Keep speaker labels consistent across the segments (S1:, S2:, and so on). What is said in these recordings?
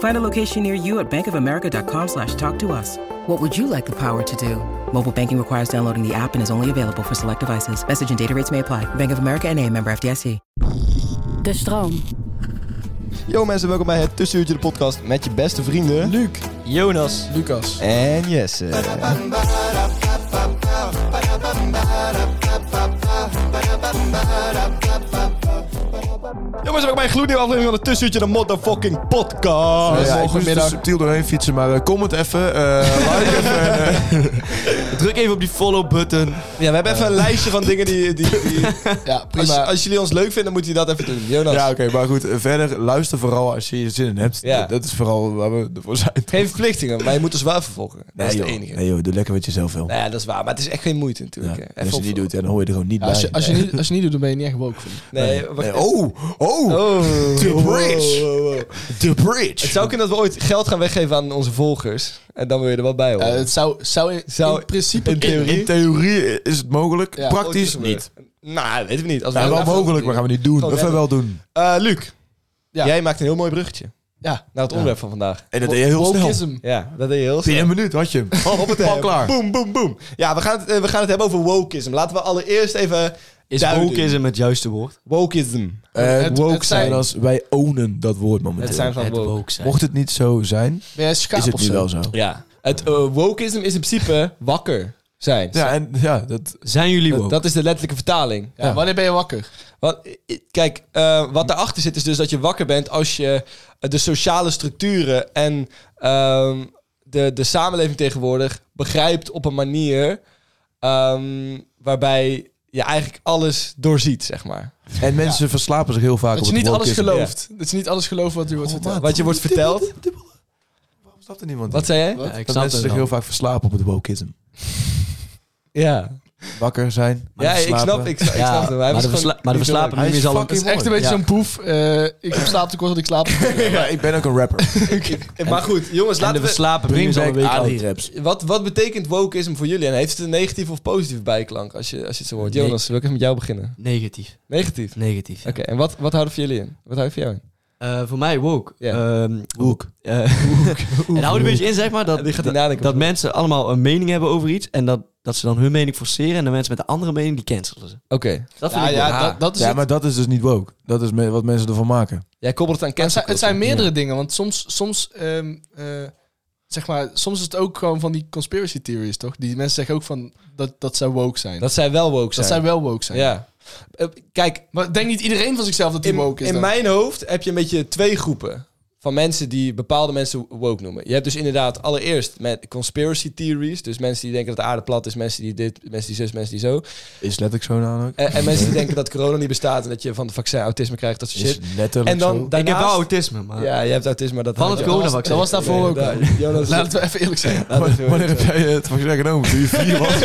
S1: Find a location near you at bankofamerica.com slash talk to us. What would you like the power to do? Mobile banking requires downloading the app and is only available for select devices. Message and data rates may apply. Bank of America en a member FDIC.
S2: De stroom.
S3: Yo mensen, welkom bij het Tussenuurtje de podcast met je beste vrienden... Luc, Jonas
S4: Lucas.
S3: en Jesse. Jongens, welkom bij een gloednieuwe aflevering van het Tussenuurtje de motherfucking podcast.
S4: we mogen middag
S5: dus
S3: Goedemiddag.
S4: dus subtiel doorheen fietsen, maar eh, kom het even. eh, like even.
S3: Druk even op die follow button. Ja, we hebben even een lijstje van dingen die... die, die
S4: ja,
S3: als, als jullie ons leuk vinden, dan moet je dat even doen. Jonas.
S4: Ja, oké, maar goed. eh, Verder, luister vooral als je er zin in hebt.
S3: Ja.
S4: Dat is vooral waar we ervoor zijn.
S3: Geen verplichtingen, maar je moet ons wel vervolgen. Dat is het enige.
S4: Nee joh, doe lekker wat je zelf wil.
S3: Nou ja, dat is waar. Maar het is echt geen moeite natuurlijk. hè.
S4: Ja,
S3: Even
S4: als je
S3: opvolgen.
S4: die doet, ja, dan hoor je er gewoon niet
S5: Als je,
S4: bij.
S5: als, je niet, als je niet doet, dan ben je niet echt woke. Vind. ik.
S3: Nee, wacht
S4: Nee,
S3: even.
S4: Oh, oh,
S3: Oh.
S4: the bridge.
S3: Wow, wow, wow.
S4: The bridge.
S3: Het zou kunnen dat we ooit geld gaan weggeven aan onze volgers. En dan wil je er wat bij horen.
S5: Eh, het zou, zou, in,
S3: Zou-
S5: in principe...
S3: in theorie.
S4: in theorie is het mogelijk,
S5: Ja,
S3: Ooit
S4: praktisch
S3: gebeuren.
S4: niet.
S3: Nou, weten we niet. Als
S4: Ja, wel mogelijk, maar gaan we niet doen.
S3: Gewoon
S4: Of we wel doen.
S3: Eh, Luc,
S5: Ja.
S3: jij maakt een heel mooi bruggetje.
S5: Ja.
S3: Naar het onderwerp van vandaag.
S4: En dat deed je heel snel.
S5: Wokeism.
S3: Ja, dat deed je heel snel.
S4: Binnen een minuut had je hem.
S3: Op het
S4: Al klaar.
S3: Boom, boom, boom. Ja, we gaan, het, eh, we gaan het hebben over wokeism. Laten we allereerst even
S6: Is
S3: duiden.
S6: wokeism het juiste woord?
S3: Wokeism.
S4: Eh,
S5: het
S4: woke
S5: zijn-
S4: zijn als wij ownen dat woord momenteel.
S3: Het zijn van
S6: het
S3: woke.
S6: woke zijn.
S4: Mocht het niet zo zijn,
S5: Ben jij schaap
S4: is het
S5: of
S4: nu
S5: zo?
S4: wel zo.
S3: Ja. Het eh, wokeism is in principe wakker zijn.
S4: Ja, en ja, dat,
S6: Zijn jullie woke?
S3: Dat, dat is de letterlijke vertaling.
S5: Ja, Wanneer ben je wakker?
S3: Want, eh, kijk, eh, wat daarachter zit is dus dat je wakker bent als je eh, de sociale structuren en ehm, de, de samenleving tegenwoordig begrijpt op een manier ehm, waarbij je eigenlijk alles doorziet, zeg maar.
S4: en mensen verslapen zich heel vaak
S5: Dat
S4: op
S5: je
S4: het
S5: niet alles
S4: wokeisme.
S5: gelooft. Dat je niet alles gelooft wat je wordt verteld.
S3: Wat je wordt verteld.
S4: Waarom snapt er niemand?
S3: Wat zei jij?
S6: Ja, ik
S4: dat
S6: snap
S4: mensen
S6: het
S4: zich
S6: wel.
S4: heel vaak verslapen op het wokeism.
S3: Ja,
S4: Wakker zijn, maar
S3: ja
S4: niet
S3: ik
S4: slapen.
S3: snap, ik, sna- ik
S6: Ja,
S3: snap hem. Hij
S6: maar
S3: was
S6: de,
S3: gewoon
S6: versla- maar de
S3: niet
S6: verslapen
S4: Hij
S6: nu
S4: is
S6: is al een...
S4: fucking
S5: Het is echt een
S4: mooi.
S5: beetje zo'n poef. eh, ik heb slaaptekort, want ik slaap.
S4: Ja, ik ben ook een rapper.
S3: door. Maar goed, jongens,
S6: En de
S3: laten we...
S6: verslapen nu
S4: Bring
S6: is al een
S4: back
S6: week oud.
S4: Ali raps.
S3: Wat, wat betekent wokeism voor jullie? En heeft het een negatieve of positieve bijklank als je, als je het zo hoort?
S6: Nee.
S3: Jonas, wil ik even met jou beginnen?
S6: Negatief.
S3: Negatief?
S6: Negatief.
S3: Oké, en wat, wat houden voor jullie in? Wat houden voor jou in?
S6: Eh, voor mij woke.
S3: Ja.
S6: Ehm, eh, en houdt een beetje in, zeg maar, dat,
S3: Ja, die gaat
S6: dat,
S3: hij nadenken.
S6: dat mensen allemaal een mening hebben over iets. En dat, dat ze dan hun mening forceren. En de mensen met de andere mening, die cancelen ze.
S3: Oké.
S6: Dat vind
S5: Ja,
S6: ik woke.
S5: ja, dat, dat is
S4: Ja,
S5: het.
S4: maar dat is dus niet woke. Dat is me- wat mensen ervan maken.
S3: Jij koppelt het aan
S5: Maar het
S3: cancel
S5: zijn, het zijn
S3: culture.
S5: meerdere dingen, want soms, soms, ehm, eh, zeg maar, soms is het ook gewoon van die conspiracy theories, toch? Die mensen zeggen ook van dat, dat zij woke zijn. Dat,
S3: Dat zij wel woke zijn.
S5: zij wel woke zijn.
S3: Ja. Eh, Kijk,
S5: Maar denkt niet iedereen van zichzelf dat hij
S3: in,
S5: woke is?
S3: in
S5: dan?
S3: mijn hoofd heb je een beetje twee groepen van mensen die bepaalde mensen woke noemen. Je hebt dus inderdaad allereerst met conspiracy theories, dus mensen die denken dat de aarde plat is, mensen die dit, mensen die zus, mensen die zo.
S4: Is letterlijk zo namelijk.
S3: En, en mensen die denken dat corona niet bestaat en dat je van het vaccin autisme krijgt, dat soort
S4: Is
S3: shit.
S4: letterlijk
S3: En dan
S4: zo.
S3: daarnaast,
S6: ik heb wel autisme, maar...
S3: Ja, je hebt autisme, maar dat
S6: Van het
S3: corona.
S6: coronavaccin.
S5: Dat was daarvoor ook.
S3: Ja, Jonas,
S5: Laten we even eerlijk zijn.
S4: Wanneer heb jij het van gezegd genomen? Toen je vier was?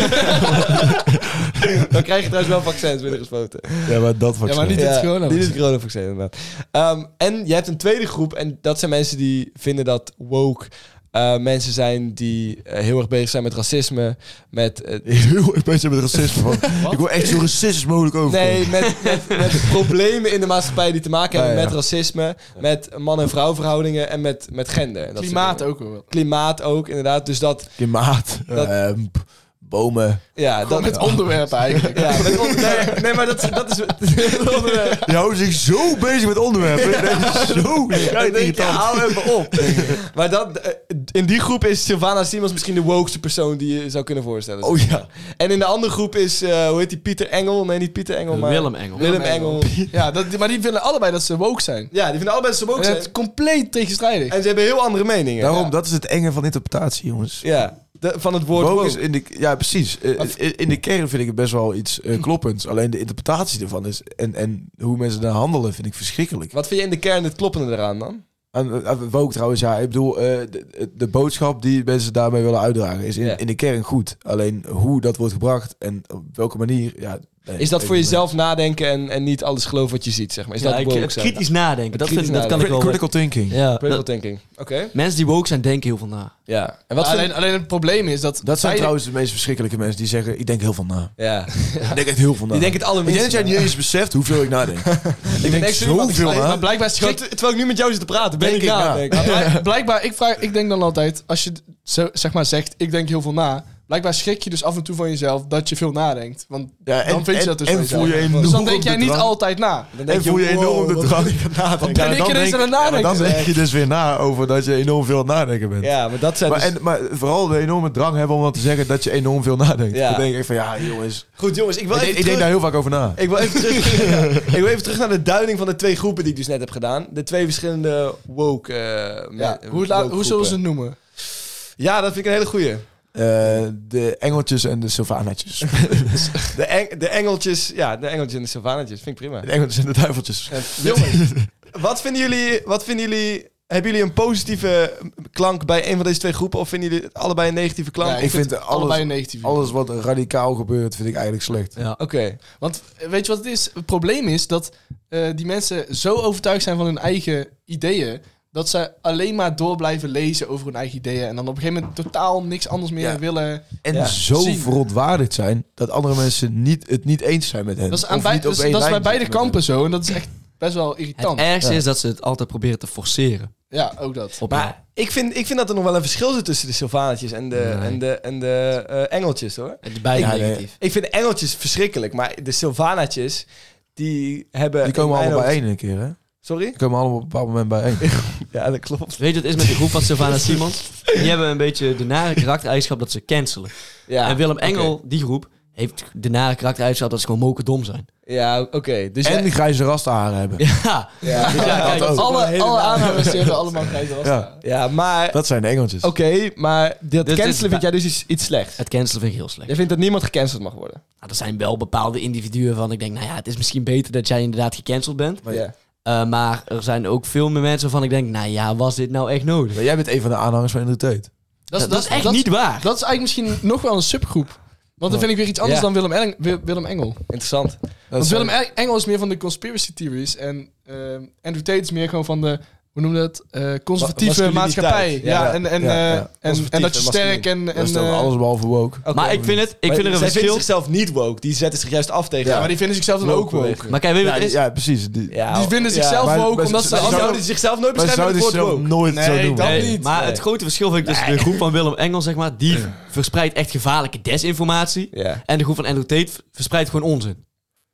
S3: dan krijg je trouwens wel vaccins binnengespoten.
S4: Ja, maar dat was
S5: Ja, maar niet
S3: Ja,
S5: het corona.
S3: Dit is het coronavaccin, inderdaad. Ehm, en je hebt een tweede groep, en dat zijn mensen die vinden dat woke eh, mensen zijn die eh, heel erg bezig zijn met racisme, met... eh,
S4: Heel erg bezig met racisme. man. Ik wil echt zo racistisch mogelijk over.
S3: Nee, met, met, met problemen in de maatschappij die te maken hebben
S4: Ja, ja.
S3: met racisme, met man- en vrouwverhoudingen en met, met gender. en dat soort
S5: Klimaat
S3: dingen.
S5: ook wel.
S3: Klimaat ook, inderdaad. Dus dat...
S4: Klimaat,
S3: Dat-
S4: ehm, p- bomen.
S3: Ja, dat,
S5: Gewoon met onderwerpen eigenlijk.
S3: ja, met on- nee, nee, maar dat, is- dat is... dat onderwerp.
S4: Je houdt zich zo bezig met onderwerpen. Dat is zo
S3: Ja, ik denk, ja,
S4: irritant.
S3: hou even op. maar dat, eh, d- in die groep is Sylvana Simons misschien de wokeste persoon die je zou kunnen voorstellen.
S4: Oh ja.
S3: En in de andere groep is, eh, hoe heet die, Pieter Engel? Nee, niet Pieter Engel, maar...
S6: Willem Engel.
S3: Willem Engel.
S5: Ja, dat, maar die vinden allebei dat ze woke zijn.
S3: Ja, die vinden allebei dat ze woke
S5: En
S3: zijn.
S5: dat is compleet tegenstrijdig.
S3: En ze hebben heel andere meningen.
S4: Daarom,
S3: Ja.
S4: dat is het enge van interpretatie, jongens.
S3: Ja, de- van het woord
S4: Woke
S3: woke.
S4: is in de, ja, precies. Eh, in, in de kern vind ik het best wel iets
S3: Hmm.
S4: eh, kloppends. Alleen de interpretatie ervan is... En, en hoe mensen daar handelen vind ik verschrikkelijk.
S3: Wat vind je in de kern het kloppende eraan dan?
S4: En, eh, woke trouwens, ja. Ik bedoel, eh, de, de boodschap die mensen daarmee willen uitdragen... is in,
S3: Ja.
S4: in de kern goed. Alleen hoe dat wordt gebracht en op welke manier... Ja, nee,
S3: Is dat
S4: ik
S3: voor
S4: weet
S3: jezelf nadenken en, en niet alles geloven wat je ziet, zeg maar? Is
S6: Ja,
S3: dat
S6: ik-
S3: woke
S6: het
S3: zijn?
S6: kritisch nadenken, dat,
S3: kritisch
S6: vind, dat kan ik
S4: niet.
S6: wel.
S4: Critical thinking.
S6: Ja,
S3: Critical
S6: dat-
S3: thinking. Oké.
S6: mensen die woke zijn, denken heel veel na.
S3: Ja. En wat
S5: alleen,
S3: vind...
S5: alleen het probleem is dat...
S4: Dat zijn
S5: wij-
S4: trouwens de meest verschrikkelijke mensen die zeggen... Ik denk heel veel na.
S3: Ja.
S4: Ik denk echt heel veel na.
S3: Die denken het
S4: ik denk dat
S3: allerminst.
S4: jij niet eens beseft hoeveel ik nadenk. ik denk
S3: echt serieus,
S4: zoveel
S3: maar-
S4: na.
S5: Maar blijkbaar is het
S3: Terwijl ik nu met jou zit te praten, ben
S4: Denk
S3: ik
S4: ik
S3: raar.
S4: na.
S3: denk ik.
S5: Maar blijk- blijkbaar, ik, vraag, ik denk dan altijd, als je d- zo, zeg maar zegt, ik denk heel veel na. Blijkbaar schrik je dus af en toe van jezelf dat je veel nadenkt. Want
S4: Ja, en,
S5: dan vind je
S4: en-
S5: dat dus
S4: en
S5: van
S4: voel je
S5: jezelf.
S4: enorm
S5: Dus dan denk jij
S4: de
S5: niet
S4: drang.
S5: altijd na.
S3: Dan denk
S4: En voel je
S3: wow,
S4: enorm de
S3: wat-
S4: drang. Want
S5: ben ik ineens aan het
S4: ja, maar dan
S5: nadenken.
S4: denk je dus weer na over dat je enorm veel aan het nadenken bent.
S3: Ja, maar dat zijn
S4: Maar,
S3: dus-
S4: en, maar vooral de enorme drang hebben om dan te zeggen dat je enorm veel nadenkt.
S3: Ja.
S4: Dan denk ik echt van, ja jongens.
S3: Goed jongens, ik wil
S4: Ik,
S3: even
S4: denk- ik denk daar
S3: terug...
S4: heel vaak over na.
S3: Ik wil, even terug, ik wil even terug naar de duiding van de twee groepen die ik dus net heb gedaan. De twee verschillende woke... eh, me-
S5: Ja, hoe,
S3: woke
S5: la- hoe zullen ze
S3: groepen.
S5: het noemen?
S3: Ja, dat vind ik een hele goeie.
S4: Eh, de engeltjes en de sylvanetjes.
S3: De, eng- de engeltjes... Ja, de engeltjes en de savanetjes. Vind ik prima.
S4: de engeltjes en de duiveltjes.
S3: En, jongens, wat vinden jullie... Wat vinden jullie... Hebben jullie een positieve klank bij een van deze twee groepen? Of vinden jullie het allebei een negatieve klank?
S5: Ja,
S4: ik vind
S5: het
S4: alles-
S5: allebei negatief.
S4: Alles wat radicaal gebeurt vind ik eigenlijk slecht.
S3: Oké.
S5: Want eh, weet je wat het is? Het probleem is dat eh, die mensen zo overtuigd zijn van hun eigen ideeën. Dat ze alleen maar door blijven lezen over hun eigen ideeën. En dan op een gegeven moment totaal niks anders meer
S4: Ja.
S5: willen.
S4: En
S3: Ja.
S4: zo
S5: Zien.
S4: verontwaardigd zijn dat andere mensen niet, het niet eens zijn met hen.
S5: Dat is,
S4: Of
S5: aan bij,
S4: niet op
S5: dat is,
S4: één
S5: dat is bij
S4: lijn
S5: beide
S4: zitten met
S5: kampen zo. En dat is echt best wel irritant.
S6: Het ergste is dat ze het altijd proberen te forceren.
S5: Ja, ook dat.
S6: Op
S3: Maar ik vind, ik vind dat er nog wel een verschil zit tussen de Sylvanetjes en de,
S6: Nee.
S3: en de, en de eh, engeltjes, hoor.
S6: hen. beide
S4: Ja, nee.
S6: negatief.
S3: Ik vind engeltjes verschrikkelijk, maar de Sylvanetjes, die hebben...
S4: hen. Die komen
S3: in mijn
S4: allemaal
S3: hoofd-
S4: bijeen een keer, hè?
S3: Sorry?
S4: Die komen allemaal op een bepaald moment bijeen.
S3: Ja, dat klopt.
S6: Weet je wat het is met de groep van Sylvana Simons? Die hebben een beetje de nare karaktereigenschap dat ze cancelen.
S3: Ja,
S6: en Willem Engel,
S3: Ah, oké.
S6: die groep, heeft de nare karaktereigenschap dat ze gewoon mokerdom zijn.
S3: Ja, oké. Dus
S4: en
S3: jij-
S4: die grijze rastaharen hebben.
S6: Ja,
S3: ja,
S6: Dus ja, kijk,
S3: ook. Een
S5: Alle,
S3: hele
S5: alle
S3: nare-
S5: aanhangers die hebben allemaal grijze rassen.
S4: Ja,
S3: ja, maar...
S4: dat zijn de engeltjes.
S3: Oké, maar dat
S6: Dus
S3: cancelen
S6: dit-
S3: vind jij dus iets, iets slechts?
S6: het cancelen vind ik heel slecht.
S3: Jij vindt dat niemand gecanceld mag worden?
S6: Nou, er zijn wel bepaalde individuen van, ik denk, nou ja, het is misschien beter dat jij inderdaad gecanceld bent.
S4: Maar,
S3: ja.
S6: Eh, maar er zijn ook veel meer mensen van, ik denk, nou ja, was dit nou echt nodig?
S4: maar jij bent een van de aanhangers van Andrew Tate.
S6: Dat,
S5: is-
S6: dat is echt niet waar.
S5: Dat is eigenlijk misschien nog wel een subgroep. Want dan vind ik weer iets anders
S3: Oh. Ja.
S5: dan Willem, Eng- Wi- Willem Engel.
S3: Interessant.
S5: Want Willem Eng- Engel is meer van de conspiracy theories. En ehm, Andrew Tate is meer gewoon van de, hoe noemen we dat? Eh, conservatieve
S3: masculiniteit.
S5: maatschappij. Ja,
S3: Ja,
S5: en, en,
S4: ja,
S5: eh,
S4: ja.
S5: en, en dat je
S3: Conservatief en
S5: sterk en... en
S4: dat is dan
S5: eh,
S4: alles behalve woke.
S3: Oké.
S6: maar ik vind het, ik
S3: Maar
S6: vind er een
S3: zij
S6: verschil.
S3: vinden zichzelf niet woke. Die zetten zich juist af tegen
S5: ja, maar die vinden zichzelf dan ook woke.
S6: Maar kijk, weet je
S4: Ja,
S6: wat het
S4: die-
S6: is?
S4: ja, precies. Die,
S5: Die vinden zichzelf
S4: maar-
S5: woke
S4: maar
S5: omdat
S4: ze-
S5: ze...
S3: Ze
S4: ze zouden-
S5: allemaal-
S3: zouden zichzelf nooit
S4: maar ze
S3: beschrijven met
S4: zouden
S3: het woord
S4: zichzelf
S3: woke.
S4: nooit zo
S5: Nee,
S4: noemen.
S5: dat
S6: Nee,
S5: niet.
S6: Maar
S5: Nee.
S6: het grote verschil vind ik tussen de groep van Willem Engel, zeg maar, die verspreidt echt gevaarlijke desinformatie.
S3: Ja.
S6: En de groep van Andrew Tate verspreidt gewoon onzin.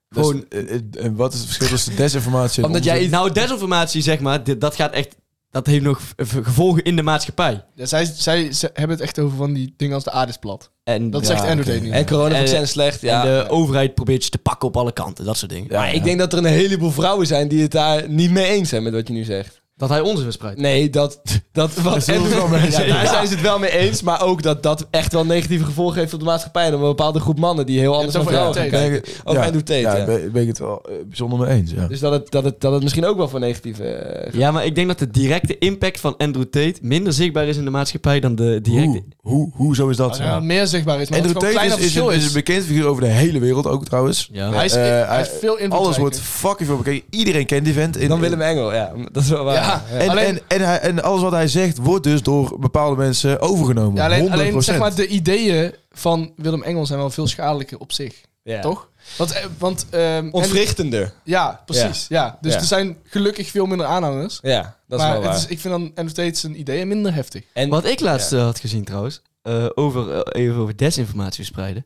S4: Dus,
S6: Gewoon,
S4: eh, eh, en wat is het verschil tussen desinformatie en
S3: Omdat jij-
S4: onzin?
S6: nou, desinformatie, zeg maar, dit- dat gaat echt, dat heeft nog v- gevolgen in de maatschappij.
S5: Ja, zij, zij, ze hebben het echt over van die dingen als de aarde is plat.
S6: En,
S5: Dat
S6: ja,
S5: zegt Andrew
S4: oké.
S5: Tate nu.
S3: En eh, coronavaccins
S6: En-
S3: slecht,
S6: en
S3: ja.
S6: de overheid probeert je te pakken op alle kanten, dat soort dingen.
S4: Ja,
S3: maar
S4: ja.
S3: ik denk dat er een heleboel vrouwen zijn die het daar niet mee eens zijn met wat je nu zegt.
S6: Dat hij onzin verspreidt.
S3: Nee, dat... dat wat
S4: zullen we wel mee
S3: ja,
S4: zijn.
S3: daar zijn ze het wel mee eens, maar ook dat dat echt wel negatieve gevolgen heeft op de maatschappij. En op een bepaalde groep mannen die heel anders
S5: het
S3: naar
S5: over
S3: vrouwen gaan
S5: Andrew Tate.
S3: kijken.
S4: Ja,
S3: Ook Andrew Tate, ja.
S4: Ja, ben, ben ik het wel eh, bijzonder mee eens. Ja.
S3: Dus dat het, dat, het, dat het misschien ook wel voor negatieve... eh,
S6: Ja, maar ik denk dat de directe impact van Andrew Tate minder zichtbaar is in de maatschappij dan de directe...
S4: Hoe, hoe, hoe zo is dat?
S5: Ah, Ja,
S4: zo?
S5: meer zichtbaar is, maar dat
S4: Andrew
S5: het gewoon een
S4: Tate
S5: kleiner
S4: is, is,
S5: verschil
S4: een, is
S5: is.
S4: een bekend figuur over de hele wereld ook trouwens.
S6: Ja.
S5: Hij is,
S4: Eh,
S5: hij is
S4: hij-
S5: veel invloedrijker.
S4: Alles wordt fucking veel bekeken. Iedereen kent die vent. In-
S3: Dan Willem Engel, ja. Dat is wel waar.
S5: Ja.
S4: En,
S5: Alleen-
S4: en, en, hij, en alles wat hij zegt wordt dus door bepaalde mensen overgenomen.
S5: Ja, alleen,
S4: 100%.
S5: alleen zeg maar de ideeën van Willem Engel zijn wel veel schadelijker op zich,
S3: Ja.
S5: toch? Want, eh, want ehm, en-
S3: Ontwrichtender.
S5: ja, precies. Ja. Dus
S3: Ja.
S5: er zijn gelukkig veel minder aanhangers.
S3: Ja, dat is
S5: maar
S3: wel waar.
S5: het is, ik vind dan en nog steeds zijn ideeën minder heftig.
S3: En,
S6: Wat ik laatst eh, had gezien trouwens, eh, over, eh, even over desinformatie verspreiden.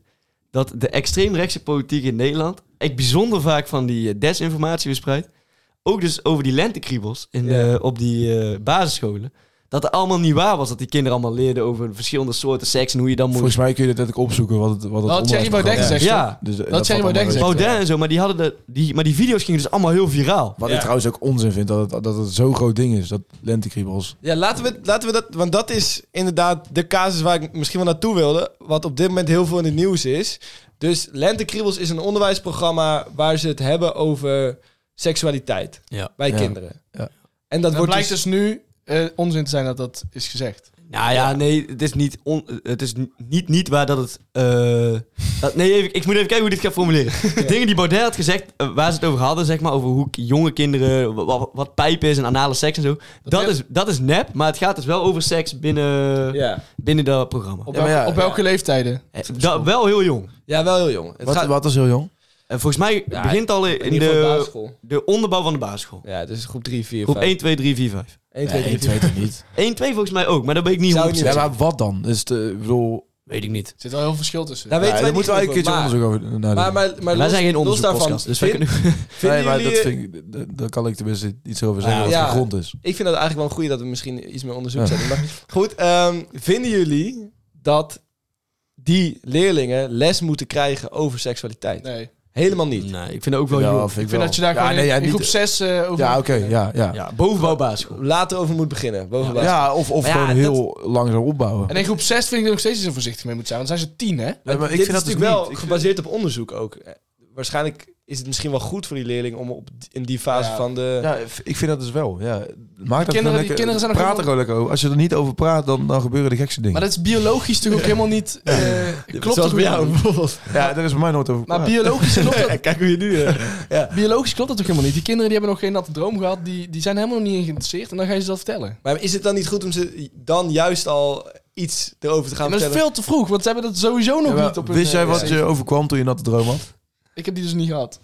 S6: Dat de extreemrechtse politiek in Nederland echt bijzonder vaak van die eh, desinformatie verspreidt. Ook dus over die lentekriebels in,
S3: Ja.
S6: eh, op die eh, basisscholen. dat het allemaal niet waar was. Dat die kinderen allemaal leerden over verschillende soorten seks en hoe je dan moet...
S4: Volgens mij kun je dat ook opzoeken wat het wat het
S5: Dat had Thierry Baudet
S4: onderwijsprogramma is.
S5: gezegd, toch?
S6: ja,
S4: Dus, eh,
S5: Thierry
S4: valt allemaal
S5: Baudet
S4: mee.
S5: gezegd.
S6: Baudet en zo, maar die, hadden de, die, maar die video's gingen dus allemaal heel viraal.
S4: Wat
S3: Ja.
S4: ik trouwens ook onzin vind, dat het, dat het zo'n groot ding is, dat lentekriebels.
S3: Ja, laten we, laten we dat... Want dat is inderdaad de casus waar ik misschien wel naartoe wilde. Wat op dit moment heel veel in het nieuws is. Dus Lentekriebels is een onderwijsprogramma... waar ze het hebben over seksualiteit
S6: Ja.
S3: bij
S4: Ja.
S3: kinderen.
S4: Ja.
S3: En dat
S5: Het
S3: wordt
S5: blijkt
S3: dus...
S5: dus nu eh, onzin te zijn dat dat is gezegd.
S6: Nou ja, nee, het is niet, on, het is ni- niet, niet waar dat het... eh, dat, nee, even, ik moet even kijken hoe ik dit ga formuleren. De dingen die Baudet had gezegd, eh, waar ze het over hadden, zeg maar, over hoe k- jonge kinderen, wa- wa- wat, pijp is en anale seks en zo. Dat,
S5: heb-
S6: is, dat is nep, maar het gaat dus wel over seks binnen,
S5: dus-
S3: Ja.
S6: binnen dat programma.
S5: Op,
S4: Ja, maar
S5: welke-
S4: ja,
S5: op welke leeftijden?
S6: Eh, da- wel heel jong.
S3: ja, wel heel jong. Het
S4: Wat,
S3: gaat-
S4: wat is heel jong?
S6: En volgens mij
S3: Ja,
S6: begint al in,
S3: in ieder geval
S6: de,
S3: basisschool.
S6: de onderbouw van de basisschool.
S3: Ja, dus groep 3, 4,
S6: Groep
S3: 5.
S6: 1, 2, 3, 4, 5.
S3: 1, 2, 3, 4.
S4: weet ik niet.
S6: 1, 2 volgens mij ook, maar dat weet ik niet
S3: Zou
S6: hoe
S3: ik
S4: Ja, maar wat dan? Dus de, ik bedoel,
S6: Weet ik niet.
S5: Er zit al heel veel verschil tussen.
S3: Daar
S4: ja,
S3: weten
S4: daar
S3: wij
S4: moeten we
S3: niet
S4: eigenlijk een keertje
S3: over,
S4: onderzoek over naar
S3: Maar,
S4: doen.
S3: maar, maar, maar
S6: Wij
S3: los-
S6: zijn
S3: los
S6: geen
S3: daarvan,
S6: onderzoekpodcast, dus wij
S3: vind-
S6: kunnen...
S3: vinden
S4: nee, maar
S3: jullie-
S4: dat vind ik, dat- daar kan ik tenminste iets over zeggen,
S3: Ah,
S4: wat
S3: ja.
S4: de grond is.
S3: Ik vind dat eigenlijk wel een goeie dat we misschien iets meer onderzoek
S4: Ja.
S3: zetten. Maar goed, ehm, vinden jullie dat die leerlingen les moeten krijgen over seksualiteit?
S5: Nee.
S3: Helemaal niet.
S6: Nee, ik vind het ook wel
S4: Ja,
S6: jong.
S5: Ik vind dat je daar
S4: ja,
S5: gewoon
S4: nee,
S5: in,
S4: ja,
S5: in
S4: niet-
S5: groep 6 over...
S4: Ja, oké, ja, ja. ja.
S6: Ja, bovenbouw basisschool.
S3: Later over moet beginnen. Boven baas.
S4: of, of
S3: Maar ja,
S4: gewoon heel langzaam opbouwen.
S5: En in groep 6 vind ik er nog steeds niet zo voorzichtig mee moet zijn, want dan zijn ze 10, hè?
S4: Nee, maar
S3: Dit is natuurlijk wel gebaseerd op onderzoek ook. Eh, Waarschijnlijk is het misschien wel goed voor die leerling om op, in die fase
S5: Ja.
S3: van de...
S4: Ja, v- ik vind dat dus wel. Ja. Maak dat
S5: kinderen- die
S4: gewoon lekker,
S5: kinderen zijn nog helemaal-
S4: praat er gewoon lekker over. Als je er niet over praat, dan, dan gebeuren de gekste dingen.
S5: Maar dat is biologisch natuurlijk ook helemaal niet... eh, klopt
S3: Zoals
S5: toch
S3: bij jou
S5: niet?
S3: bijvoorbeeld.
S4: Ja, daar is bij mij nooit over
S5: Maar
S4: gepraat.
S5: biologisch klopt dat,
S3: Kijk hoe je nu... eh,
S5: biologisch klopt dat ook helemaal niet. Die kinderen die hebben nog geen natte droom gehad, die, die zijn helemaal nog niet in geïnteresseerd en dan ga je ze dat vertellen.
S3: Maar is het dan niet goed om ze dan juist al iets erover te gaan
S5: Maar dat is
S3: vertellen?
S5: veel te vroeg, want ze hebben dat sowieso nog
S4: Ja, maar
S5: niet op hun...
S4: Wist
S5: eh,
S4: jij wat
S5: eh,
S4: je overkwam toen je natte droom had?
S5: Ik heb die dus niet gehad.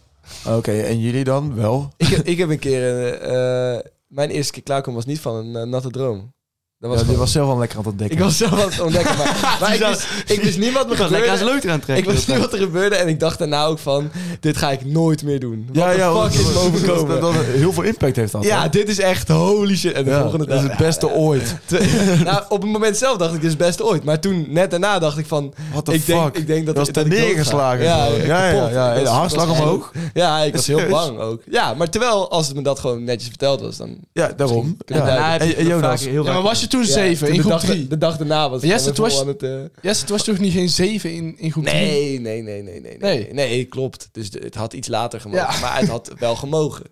S4: Oké, en jullie dan wel?
S3: Ik heb, ik heb een keer... eh, eh, mijn eerste keer klaarkomen was niet van een eh, natte droom. Dat was
S4: Ja, die
S3: gewoon-
S4: was zelf wel lekker aan het ontdekken.
S3: Ik was zelf aan het ontdekken, maar, maar ik, wist, ik wist niet wat me
S6: Ik was lekker aan zijn
S3: gebeurde.
S6: leuter aan het
S3: Ik
S6: trekken.
S3: wist niet wat er gebeurde en ik dacht daarna ook van... Dit ga ik nooit meer doen. Wat
S4: ja,
S3: de
S4: ja,
S3: fuck is me overkomen?
S4: Dat, dat heel veel impact heeft dat.
S3: ja, dit is echt holy shit. En de
S4: Ja,
S3: volgende
S4: dat
S3: dag...
S4: is het beste ooit.
S3: Twee- nou, op het moment zelf dacht ik, dit is best ooit. Maar toen, net daarna, dacht ik van...
S4: What the
S3: ik,
S4: fuck?
S3: Denk, ik denk dat
S4: dat was
S3: ik-
S4: ten
S3: ik doodga.
S4: neergeslagen.
S3: Ja,
S4: Zo. ja, ja,
S3: kapot.
S4: ja.
S3: Ik
S4: En
S3: was-
S4: de hartslag
S3: was-
S4: omhoog.
S3: Ja, ik was heel
S4: Serieus?
S3: bang ook. Ja, maar terwijl als het me dat gewoon netjes verteld was, dan...
S4: Ja, daarom.
S3: Misschien-
S4: Ja.
S6: En daarna
S4: En,
S6: heb je
S4: en
S6: het nog
S4: Jonas,
S6: vaker heel
S5: Ja, maar
S6: vaak
S5: was je toen
S3: Ja,
S5: 7
S3: toen
S5: in
S3: de
S5: groep
S3: dag,
S5: 3?
S3: De dag daarna was
S5: Yes, het
S3: gewoon
S5: was-
S3: aan het... eh,
S5: Yes, het was toch niet geen 7 in, in groep 3?
S3: Nee, nee, nee, nee, nee, nee.
S5: Nee.
S3: Nee, klopt. Dus de- het had iets later gemogen.
S5: Ja.
S3: Maar het had wel gemogen.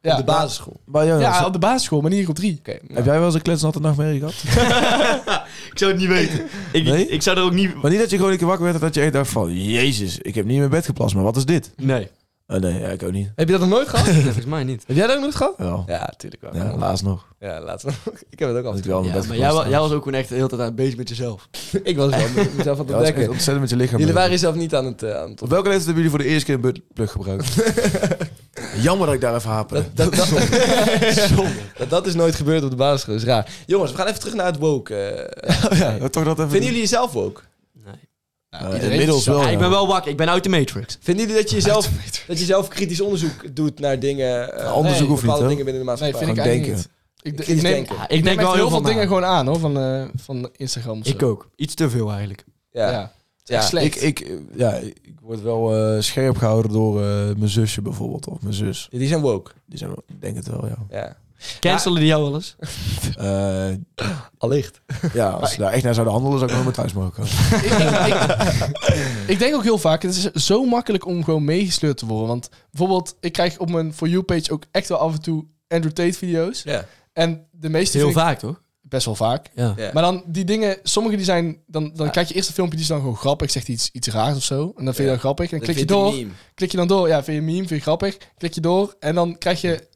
S5: ja,
S3: op de basisschool.
S4: maar Jonas,
S5: Ja, op de basisschool, maar niet in groep 3.
S3: Oké. nou.
S4: heb jij wel eens een kletsnatte nachtmerrie gehad?
S6: Ik zou het niet weten. Ik,
S4: Nee?
S6: ik zou er ook niet...
S4: maar niet dat je gewoon een keer wakker werd en dat je echt dacht van... Jezus, ik heb niet in mijn bed geplast, maar wat is dit?
S6: Nee,
S4: Oh, nee, ja, ik ook niet.
S3: Heb je dat nog nooit gehad?
S6: volgens mij niet.
S3: heb jij dat ook nooit gehad?
S4: Wel.
S3: Ja, natuurlijk wel.
S4: Ja,
S3: Ja,
S4: laatst nog.
S3: laatst nog. Ik heb het ook
S4: Dat ik
S3: altijd.
S4: wel in
S6: Ja,
S4: mijn bed
S6: maar jij,
S4: geplast
S6: wa-
S4: had.
S6: jij was ook gewoon echt de hele tijd aan het bezig met jezelf.
S3: Ik was wel met mezelf aan het
S4: Ja, dat is echt
S3: ontdekken.
S4: ontzettend met je
S3: Jullie
S4: lichaam. bezig.
S3: waren jezelf niet aan het... eh, aan het
S4: Op
S3: ontdekken.
S4: welke leeftijd hebben jullie voor de eerste keer een buttplug gebruikt? Jammer dat ik daar even haperde.
S3: Dat, dat, dat, dat is nooit gebeurd op de basisschool. Dat is raar. Jongens, we gaan even terug naar het woke. eh.
S4: ja, toch dat even...
S3: Vinden jullie jezelf woke?
S4: Eh,
S5: iedereen
S4: inmiddels
S5: is wel-
S4: wel,
S6: Ja, ik
S4: ja.
S6: ben wel wakker, ik ben uit de Matrix.
S3: Vinden jullie dat je jezelf, dat je zelf kritisch onderzoek doet naar dingen... eh,
S4: onderzoek hoeft niet,
S3: bepaalde
S4: hè?
S3: dingen binnen de
S5: Nee,
S3: maatschappij?
S5: vind ik
S4: Gewoon
S5: eigenlijk
S4: denken.
S5: niet. Ik, ik,
S3: Kritisch
S5: neem,
S3: denken.
S5: ik
S6: ik
S5: neem
S6: denk wel
S5: echt
S6: heel
S5: heel veel dingen
S6: aan.
S5: gewoon aan, hoor, van, eh, van Instagram of zo.
S6: Ik ook. Iets te veel eigenlijk.
S3: Ja.
S5: Ja.
S3: Ja.
S5: Het is echt
S4: Ik,
S5: slecht.
S4: ik, eh, ja, ik word wel eh, scherp gehouden door eh, mijn zusje bijvoorbeeld. Of mijn zus.
S3: Die zijn woke.
S4: Die zijn, wel- ik denk het wel, ja.
S3: Ja.
S6: Cancelen die jou wel eens?
S4: Eh,
S3: Allicht.
S4: ja, als ze daar echt naar zouden handelen, zou ik nog maar thuis mogen komen.
S5: ik, ik- ik denk ook heel vaak, het is zo makkelijk om gewoon meegesleurd te worden. Want bijvoorbeeld, ik krijg op mijn For You-page ook echt wel af en toe Andrew Tate-video's.
S3: Ja.
S5: En de meeste
S6: Heel
S5: vind ik
S6: vaak, toch?
S5: best wel vaak.
S6: Ja.
S3: Ja.
S5: Maar dan die dingen, sommige die zijn, dan, dan kijk je eerst een filmpje die is dan gewoon grappig, zegt iets, iets raars of zo. En dan vind je
S3: Ja.
S5: dat grappig. En dan
S3: Dat
S5: klik je
S3: vindt
S5: door,
S3: die meme.
S5: klik je dan door. Ja, vind je een meme, vind je grappig. Klik je door en dan krijg je,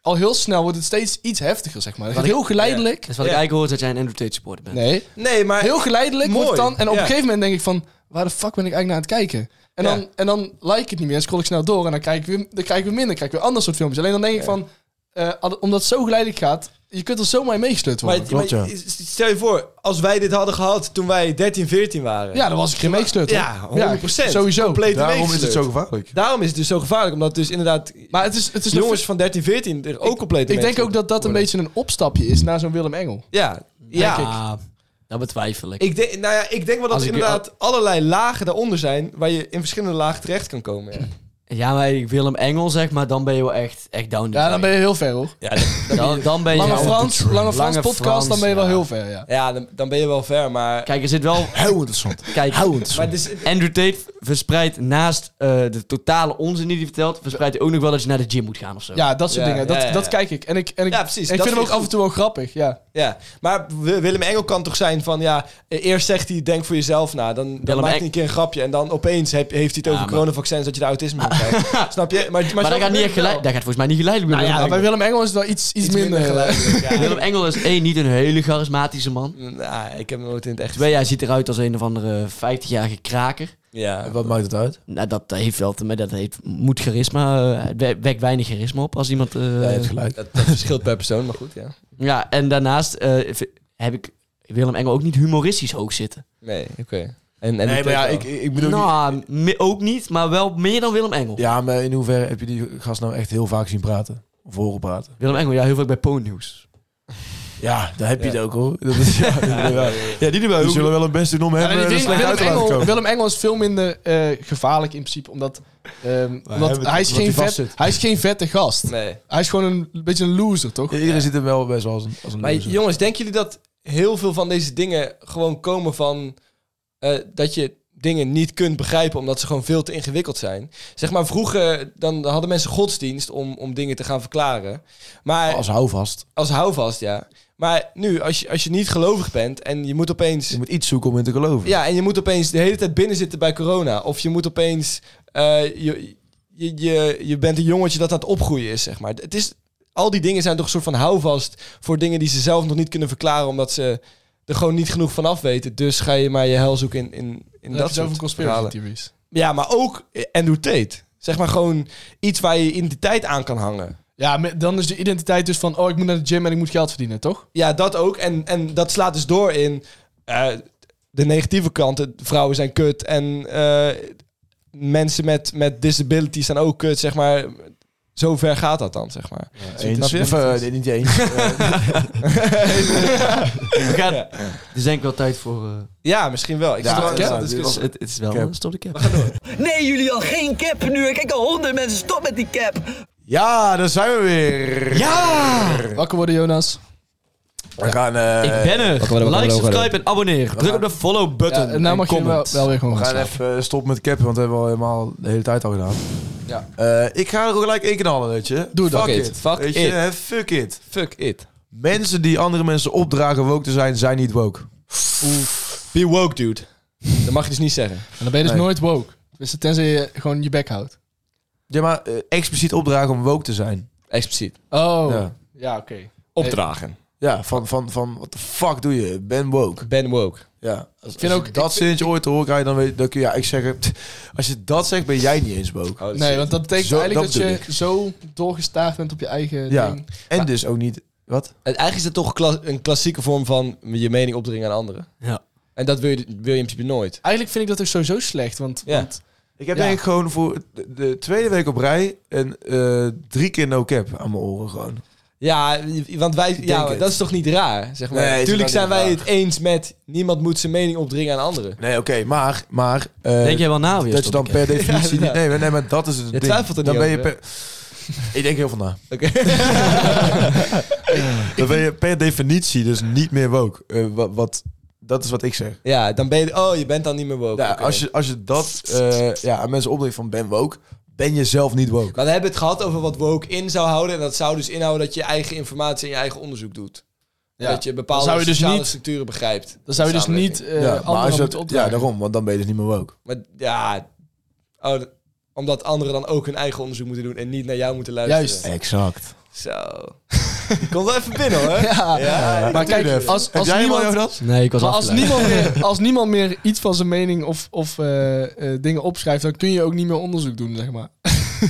S5: al heel snel wordt het steeds iets heftiger, zeg maar. Het
S6: Wat
S5: gaat
S6: ik-
S5: heel geleidelijk.
S6: Dat is wat
S3: Ja.
S6: ik eigenlijk hoor, is dat jij een Andrew Tate supporter bent.
S5: Nee,
S3: Nee, maar...
S5: heel geleidelijk
S3: Mooi.
S5: wordt het dan. En op
S3: Ja.
S5: een gegeven moment denk ik van, waar de fuck ben ik eigenlijk naar aan het kijken? En dan,
S3: Ja.
S5: en dan like ik het niet meer, en scroll ik snel door. En dan krijg ik weer, dan krijg ik weer minder, dan krijg ik weer ander soort filmpjes. Alleen dan denk ik van, eh, al- omdat het zo geleidelijk gaat, je kunt er zomaar meegesleurd
S4: Oh,
S5: worden.
S3: Maar, maar stel je voor, als wij dit hadden gehad toen wij 13, 14 waren.
S5: ja, dan was ik geen meegesleurd. hoor.
S3: Ja, 100%.
S5: sowieso.
S3: Compleet
S4: Daarom is het
S3: meegesleurd.
S4: zo gevaarlijk.
S3: Daarom is het dus zo gevaarlijk, omdat dus inderdaad
S5: Maar het is, het is nog-
S3: jongens van 13, 14 er ook compleet
S5: Ik denk
S3: meegesleurd
S5: ook dat dat een
S3: worden.
S5: beetje een opstapje is naar zo'n Willem Engel.
S3: Ja, ja. ik.
S7: dat betwijfel ik.
S3: denk, nou ja, ik denk wel dat
S7: Als
S3: er
S7: ik-
S3: inderdaad allerlei lagen daaronder zijn waar je in verschillende lagen terecht kan komen. Ja.
S7: Ja, maar Willem Engel, zeg maar, dan ben je wel echt, echt down.
S5: Ja, dan ben je heel ver hoor.
S7: je... Dan, dan ben je
S5: Lange
S7: Ja,
S5: Frans, Lange Frans
S7: Lange
S5: podcast, dan
S7: Frans,
S5: ben je wel
S7: ja.
S5: heel ver. Ja.
S3: Ja, dan, dan ben je wel ver, maar...
S7: Kijk, er zit wel...
S4: Heel interessant.
S7: Kijk, dus-
S3: maar het is,
S7: Andrew Tate verspreidt naast eh, de totale onzin die hij vertelt... verspreidt hij ook nog wel dat je naar de gym moet gaan of zo.
S5: Ja, dat soort
S3: Ja,
S5: dingen. Dat,
S3: ja, ja,
S5: dat
S3: ja.
S5: kijk ik. En ik, en ik,
S3: Ja, precies.
S5: en ik
S3: Dat
S5: vind hem
S3: vind ik
S5: ook af en toe wel grappig. Ja.
S3: ja. maar Wi- Willem Engel kan toch zijn van, ja, eh, eerst zegt hij denk voor jezelf na, dan, dan
S7: Willem
S3: maakt
S7: Eng-
S3: hij een keer een grapje en dan opeens heb, heeft hij het over
S7: maar-
S3: coronavaccins dat je de autisme van krijgt. Snap je? Maar, maar,
S7: maar dat gaat, niet echt
S3: gelijk.
S7: geleid, dat gaat volgens mij niet geleidelijk
S5: Nou
S7: worden.
S5: ja, bij Willem Engel is het wel iets, iets, minder.
S7: Willem Engel is één, niet een hele charismatische man.
S3: Nou, ik heb hem nooit in het echt.
S7: Twee, hij ziet eruit als een of andere 50-jarige kraker.
S3: Ja.
S4: Wat maakt het uit?
S7: Nou, dat heeft wel te maar dat heeft, moet charisma, eh, het we- wekt weinig charisma op als iemand... eh,
S4: Ja, je hebt gelijk.
S3: Dat, dat verschilt per persoon, maar goed, ja.
S7: ja, en daarnaast eh, v- heb ik Willem Engel ook niet humoristisch hoog zitten.
S3: Nee, oké. En, en
S4: Nee,
S3: die
S4: maar ja,
S3: Tate
S4: ik,
S3: wel.
S4: ik bedoel... niet-
S7: nou, me- ook niet, maar wel meer dan Willem Engel.
S4: Ja, maar in hoeverre heb je die gast nou echt heel vaak zien praten? Of horen praten?
S7: Willem Engel, ja, heel vaak bij Poonnieuws.
S4: Ja, daar heb je het ook hoor. Dat is, ja, inderdaad.
S7: Ja, die doen
S4: Ze zullen wel een best doen om hem
S5: Ja, en ik
S4: eh, er
S5: denk,
S4: slecht uit
S5: Willem,
S4: te laten
S5: Engel,
S4: komen.
S5: Willem Engel is veel minder eh, gevaarlijk in principe, omdat, ehm, omdat
S4: hebben-
S5: hij, is
S4: omdat
S5: geen vet,
S4: hij vastzit.
S5: hij is geen vette gast.
S3: Nee.
S5: Hij is gewoon een, een beetje een loser, toch?
S4: Ja, iedereen ziet hem wel best wel als een, als een
S3: Maar
S4: loser.
S3: jongens, denken jullie dat heel veel van deze dingen gewoon komen van eh, dat je dingen niet kunt begrijpen omdat ze gewoon veel te ingewikkeld zijn? Zeg maar vroeger dan hadden mensen godsdienst om, om dingen te gaan verklaren. Maar
S4: Als
S3: als,
S4: houvast.
S3: houvast, ja. Maar nu, als je, als je niet gelovig bent en je moet opeens
S4: Je moet iets zoeken om in te geloven.
S3: Ja, en je moet opeens de hele tijd binnen zitten bij corona. Of je moet opeens. eh, je, je, je, je bent een jongetje dat aan het opgroeien is, zeg maar. Het is, al die dingen zijn toch een soort van houvast voor dingen die ze zelf nog niet kunnen verklaren. omdat ze er gewoon niet genoeg van af weten. Dus ga je maar je hel zoeken in, in, in
S5: dat
S3: dat
S5: is over
S3: soort
S5: conspiracy
S3: verhalen.
S5: theories.
S3: Ja, maar ook eh, Andrew Tate. Zeg maar gewoon iets waar je je identiteit aan kan hangen.
S5: Ja, maar dan is de identiteit dus van, oh, ik moet naar de gym en ik moet geld verdienen, toch?
S3: Ja, dat ook. En, en dat slaat dus door in eh, de negatieve kanten. Vrouwen zijn kut en eh, mensen met, met disabilities zijn ook kut, zeg maar. Zo ver gaat dat dan, zeg maar.
S4: Eens. Of, eh, nee, niet eens.
S7: We gaan, Er is denk ik wel tijd voor... eh,
S3: Ja, misschien wel. Ik
S4: Ja,
S3: zit wel-
S4: ja,
S3: ja,
S4: dit
S3: dus-
S4: was-
S7: het, het is wel...
S4: Cap.
S7: Stop de cap.
S8: Nee, jullie al geen cap nu. Ik kijk al honderd mensen. Stop met die cap.
S4: Ja, daar zijn we weer.
S7: Ja!
S5: Wakker worden, Jonas.
S4: We gaan, eh,
S7: Ik ben
S3: Wacht, wacht,
S7: er.
S3: wacht,
S7: Like,
S3: wacht,
S7: subscribe en abonneer. Druk op de follow button.
S5: Ja, en nou
S7: en
S5: mag je wel,
S7: comment.
S5: wel weer gewoon
S4: we
S5: gaan
S4: gaan
S5: slapen.
S4: even stoppen met cappen, want dat hebben we al helemaal de hele tijd al gedaan.
S3: Ja.
S4: Eh, ik ga er ook gelijk in knallen, weet je.
S3: Doe dat.
S4: Fuck
S3: Fuck
S4: it.
S3: it. Fuck
S4: Weet je,
S3: it.
S4: hè, fuck it.
S3: Fuck it.
S4: Mensen die andere mensen opdragen woke te zijn, zijn niet woke.
S3: Be woke, dude. Dat mag je dus niet zeggen.
S5: En dan ben je dus
S4: Nee.
S5: nooit woke. Dus tenzij je gewoon je bek houdt.
S4: Ja, maar eh, expliciet opdragen om woke te zijn.
S3: Expliciet.
S5: Oh.
S4: Ja.
S5: Ja, oké.
S3: Opdragen.
S4: Ja, van, van, van, wat de fuck doe je? Ben woke.
S3: Ben woke.
S4: Ja. Als,
S5: vind
S4: als
S5: ook-
S4: je dat zinnetje ooit te horen krijgt, dan weet dan kun je, ja, ik zeg het. Als je dat zegt, ben jij niet eens woke.
S5: Nee, want dat betekent
S4: Zo-
S5: eigenlijk
S4: dat
S5: dat,
S4: bedoel
S5: je zo doorgestaafd bent op je eigen
S4: Ja.
S5: ding.
S4: En dus ook niet, wat?
S3: Eigenlijk is het toch kla- een klassieke vorm van je mening opdringen aan anderen.
S7: Ja.
S3: En dat wil je, wil je in principe nooit.
S5: Eigenlijk vind ik dat ook sowieso slecht, want...
S3: Ja.
S5: want
S4: Ik heb
S5: Ja.
S4: denk ik gewoon voor de, de tweede week op rij een eh, drie keer no cap aan mijn oren gewoon.
S3: Ja, want wij, ja,
S4: het.
S3: dat is toch niet raar? Zeg maar.
S4: Nee, is
S3: Tuurlijk
S4: het wel
S3: zijn
S4: niet
S3: wij
S4: raar.
S3: het eens met niemand moet zijn mening opdringen aan anderen.
S4: Nee, oké, maar, maar... eh,
S7: Denk jij wel na weer?
S4: dat je dan per definitie
S3: Ja,
S4: niet... Nee, maar- nee, maar dat is het ding.
S3: twijfelt er
S4: dan
S3: niet
S4: ben je
S3: over,
S4: per, Ik denk heel veel na.
S3: Oké.
S4: Dan ben je per definitie dus niet meer woke. Eh, wat, wat, dat is wat ik zeg.
S3: ja, dan ben je, oh, je bent dan niet meer woke.
S4: Ja,
S3: Oké.
S4: als, je, als je dat eh, ja, aan mensen opdringt van ben woke, ben je zelf niet woke.
S3: Maar we hebben het gehad over wat woke in zou houden. En dat zou dus inhouden dat je eigen informatie en je eigen onderzoek doet.
S5: Ja.
S3: Dat je bepaalde
S5: Dan zou je dus
S3: sociale
S5: niet-
S3: structuren begrijpt.
S5: dan zou je dus
S3: Samenleving.
S5: niet eh
S4: ja, maar
S5: anderen
S4: als
S5: moeten
S4: je dat- ja,
S5: opdragen.
S4: daarom, want dan ben je dus niet meer woke.
S3: Maar ja, oh, d- omdat anderen dan ook hun eigen onderzoek moeten doen en niet naar jou moeten luisteren.
S5: Juist.
S4: Exact.
S3: Zo. Die komt wel even binnen hoor.
S5: Ja. maar kijk, als, als, niemand,
S4: dat?
S7: Nee, ik was
S5: Ah. maar als,
S7: afgeleid.
S5: niemand meer, als niemand meer iets van zijn mening of, of eh, eh, dingen opschrijft, dan kun je ook niet meer onderzoek doen, zeg maar.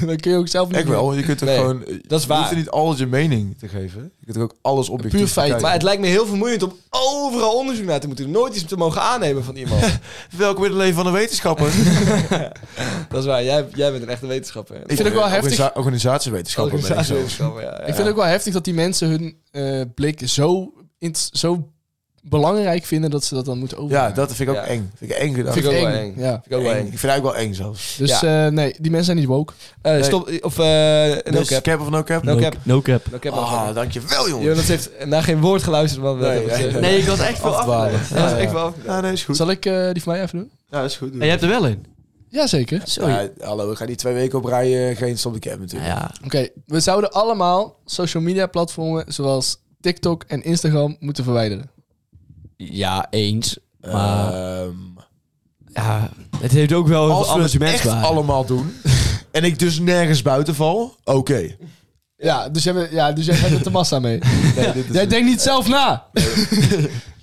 S5: dan kun je ook zelf niet
S4: Ik wel, je kunt er
S3: Nee,
S4: gewoon...
S3: dat is
S4: Je
S3: waar.
S4: hoeft er niet alles je mening te geven. Je kunt er ook alles objectief
S5: Puur feit,
S4: bekijken.
S3: Maar het lijkt me heel vermoeiend om overal onderzoek naar te moeten doen. Nooit iets te mogen aannemen van iemand.
S4: Welkom in het leven van een wetenschapper.
S3: dat is waar. Jij, jij bent een echte wetenschapper.
S5: Ik vind ook wel heftig.
S4: Organisa- organisatiewetenschapper ben ik zelfs.
S3: Organisatiewetenschapper, ja, ja.
S5: Ik vind het ook wel heftig dat die mensen hun eh, blik zo, int- zo belangrijk vinden dat ze dat dan moeten overnemen.
S4: Ja, dat vind ik ook
S3: Ja.
S4: eng. Vind ik eng gedacht.
S3: Vind ik ook wel
S5: eng.
S3: eng.
S5: Ja.
S3: Vind ik ook wel
S4: Eng.
S3: eng.
S4: Ik vind het eigenlijk wel eng zelfs.
S5: Dus eh, nee, die mensen zijn niet woke.
S3: Eh, stop, of eh no
S4: Dus
S3: cap.
S4: cap of no cap?
S3: No cap.
S7: No cap.
S3: No cap.
S4: Ah, dankjewel jongen.
S3: Jonas heeft naar geen woord geluisterd wat we net
S4: Nee,
S3: hebben
S4: nee,
S3: gezegd.
S7: Nee, ik was echt veel
S4: Afdwalen.
S7: afgeleid.
S3: Dat is echt wel...
S4: Ja, nee, is goed.
S5: Zal ik eh, die van mij even doen?
S4: Ja, is goed.
S7: En jij hebt er wel in.
S5: Jazeker.
S4: Ja, hallo, we gaan niet twee weken op rij eh, geen stop de cap natuurlijk.
S7: Nou Ja.
S5: Oké, we zouden allemaal social media platformen zoals TikTok en Instagram moeten verwijderen.
S7: Ja, eens. Maar
S4: Ehm,
S7: ja, het heeft ook wel
S4: als we het echt
S7: amusement
S4: allemaal doen en ik dus nergens buiten val, oké.
S5: Ja, dus jij, bent- ja, dus jij hebt de massa mee.
S4: Nee, dit is
S5: Jij denkt niet zelf na.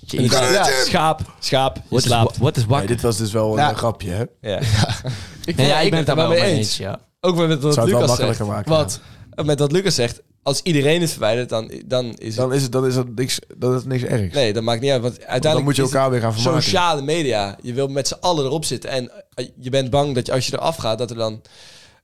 S5: Ja,
S7: Schaap.
S3: Schaap, je
S7: Wat is, wa-
S3: slaapt.
S7: wat is
S4: Nee,
S7: wakker?
S4: dit was dus wel een
S5: Ja.
S4: eh, grapje, hè?
S3: Ja.
S5: ik
S7: Nee, ja, ik
S3: ik
S7: ben het
S3: ben het
S7: daar wel mee
S3: wel mee
S7: eens.
S3: eens.
S7: ja.
S3: Ook met wat
S4: Zou het wel
S3: Lucas
S4: makkelijker
S3: zegt.
S4: maken.
S5: Wat?
S3: Met wat Lucas zegt, als iedereen het verwijdert, dan, dan is het...
S4: Dan is het, dan is dat niks, dan is het niks ergs.
S3: Nee, dat maakt niet uit. Want uiteindelijk
S4: dan moet je
S3: is het
S4: elkaar weer gaan vermaken.
S3: sociale media. Je wil met z'n allen erop zitten. En eh, je bent bang dat je, als je eraf gaat, dat er dan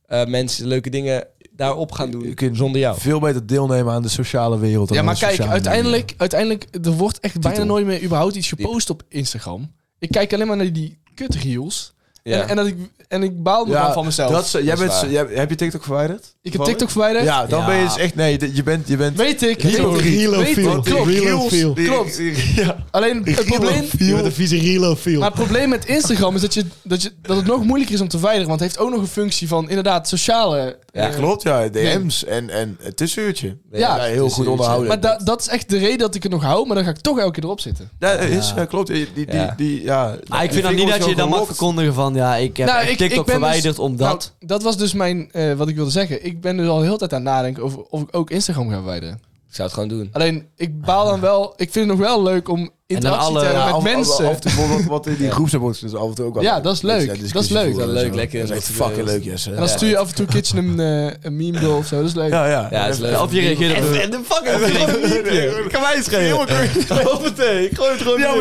S3: eh, mensen leuke dingen daarop gaan doen
S4: Je kunt
S3: zonder jou.
S4: Veel beter deelnemen aan de sociale wereld. dan
S5: Ja,
S4: aan
S5: maar
S4: de
S5: kijk,
S4: sociale media.
S5: uiteindelijk, uiteindelijk er wordt echt bijna nooit meer überhaupt iets
S3: Diep.
S5: gepost op Instagram. Ik kijk alleen maar naar die kut reels.
S3: Ja.
S5: En, en, dat ik, en ik baal me dan van mezelf.
S4: Dat, is- jij
S3: Dat is
S4: bent,
S3: waar.
S4: jij, heb je TikTok verwijderd?
S5: ik heb TikTok verwijderd.
S4: Ja, dan
S7: Ja.
S4: ben je dus echt... Nee, de- je bent... Je bent
S5: Weet ik.
S4: Reload.
S5: Weet ik.
S4: Reload.
S5: Weet ik.
S4: Want die
S5: Klopt.
S4: reels-
S5: Reels.
S4: die-
S5: Klopt.
S4: die- ja.
S5: Alleen het probleem...
S4: vieze
S5: Maar het probleem met Instagram is dat, je, dat, je, dat het nog moeilijker is om te verwijderen. Want het heeft ook nog een functie van inderdaad sociale...
S4: Ja,
S5: eh,
S4: klopt. Ja, DM's en, en het tussenuurtje.
S5: Ja,
S4: heel goed onderhouden.
S5: Maar da- dat is echt de reden dat ik het nog hou. Maar dan ga ik toch elke keer erop zitten.
S4: Ja, is, ja, klopt. Die, die,
S3: Ja.
S4: die, die- ja.
S7: Maar ik vind dan
S4: Die
S7: niet dat
S4: vingers
S7: je dan mag
S4: gewoon
S7: verkondigen van ja, ik heb
S5: Nou,
S7: echt
S5: ik-
S7: TikTok
S5: ik ben dus-
S7: verwijderd omdat.
S5: Nou, dat was dus mijn, eh, wat ik wilde zeggen. Ik ben dus al heel hele tijd aan het nadenken over of ik ook Instagram ga verwijderen.
S3: Ik zou het gewoon doen.
S5: Alleen, ik baal dan wel... Ik vind het nog wel leuk om interactie
S7: alle-
S5: te hebben
S4: Ja,
S5: met
S4: af- af-
S5: mensen.
S4: af en toe bijvoorbeeld wat in die groepsapports dus af en toe ook wel
S5: Ja, dat is
S4: mensen
S5: leuk.
S4: daar
S5: Dat is
S4: discussie
S5: leuk.
S4: voeren
S3: Dat is
S4: en
S3: leuk,
S4: zo.
S3: lekker
S4: Dat is echt
S3: dat soort
S4: fucking leuk,
S3: video's.
S4: Jesse.
S5: en dan
S4: Ja,
S5: stuur je af en toe een keertje een, eh, een meme door of zo. Dat is leuk.
S4: ja. ja.
S3: Ja, dat is leuk.
S7: of je reageert op
S3: de fucking Kan mij schelen. Ik gooi het gewoon
S5: Ja.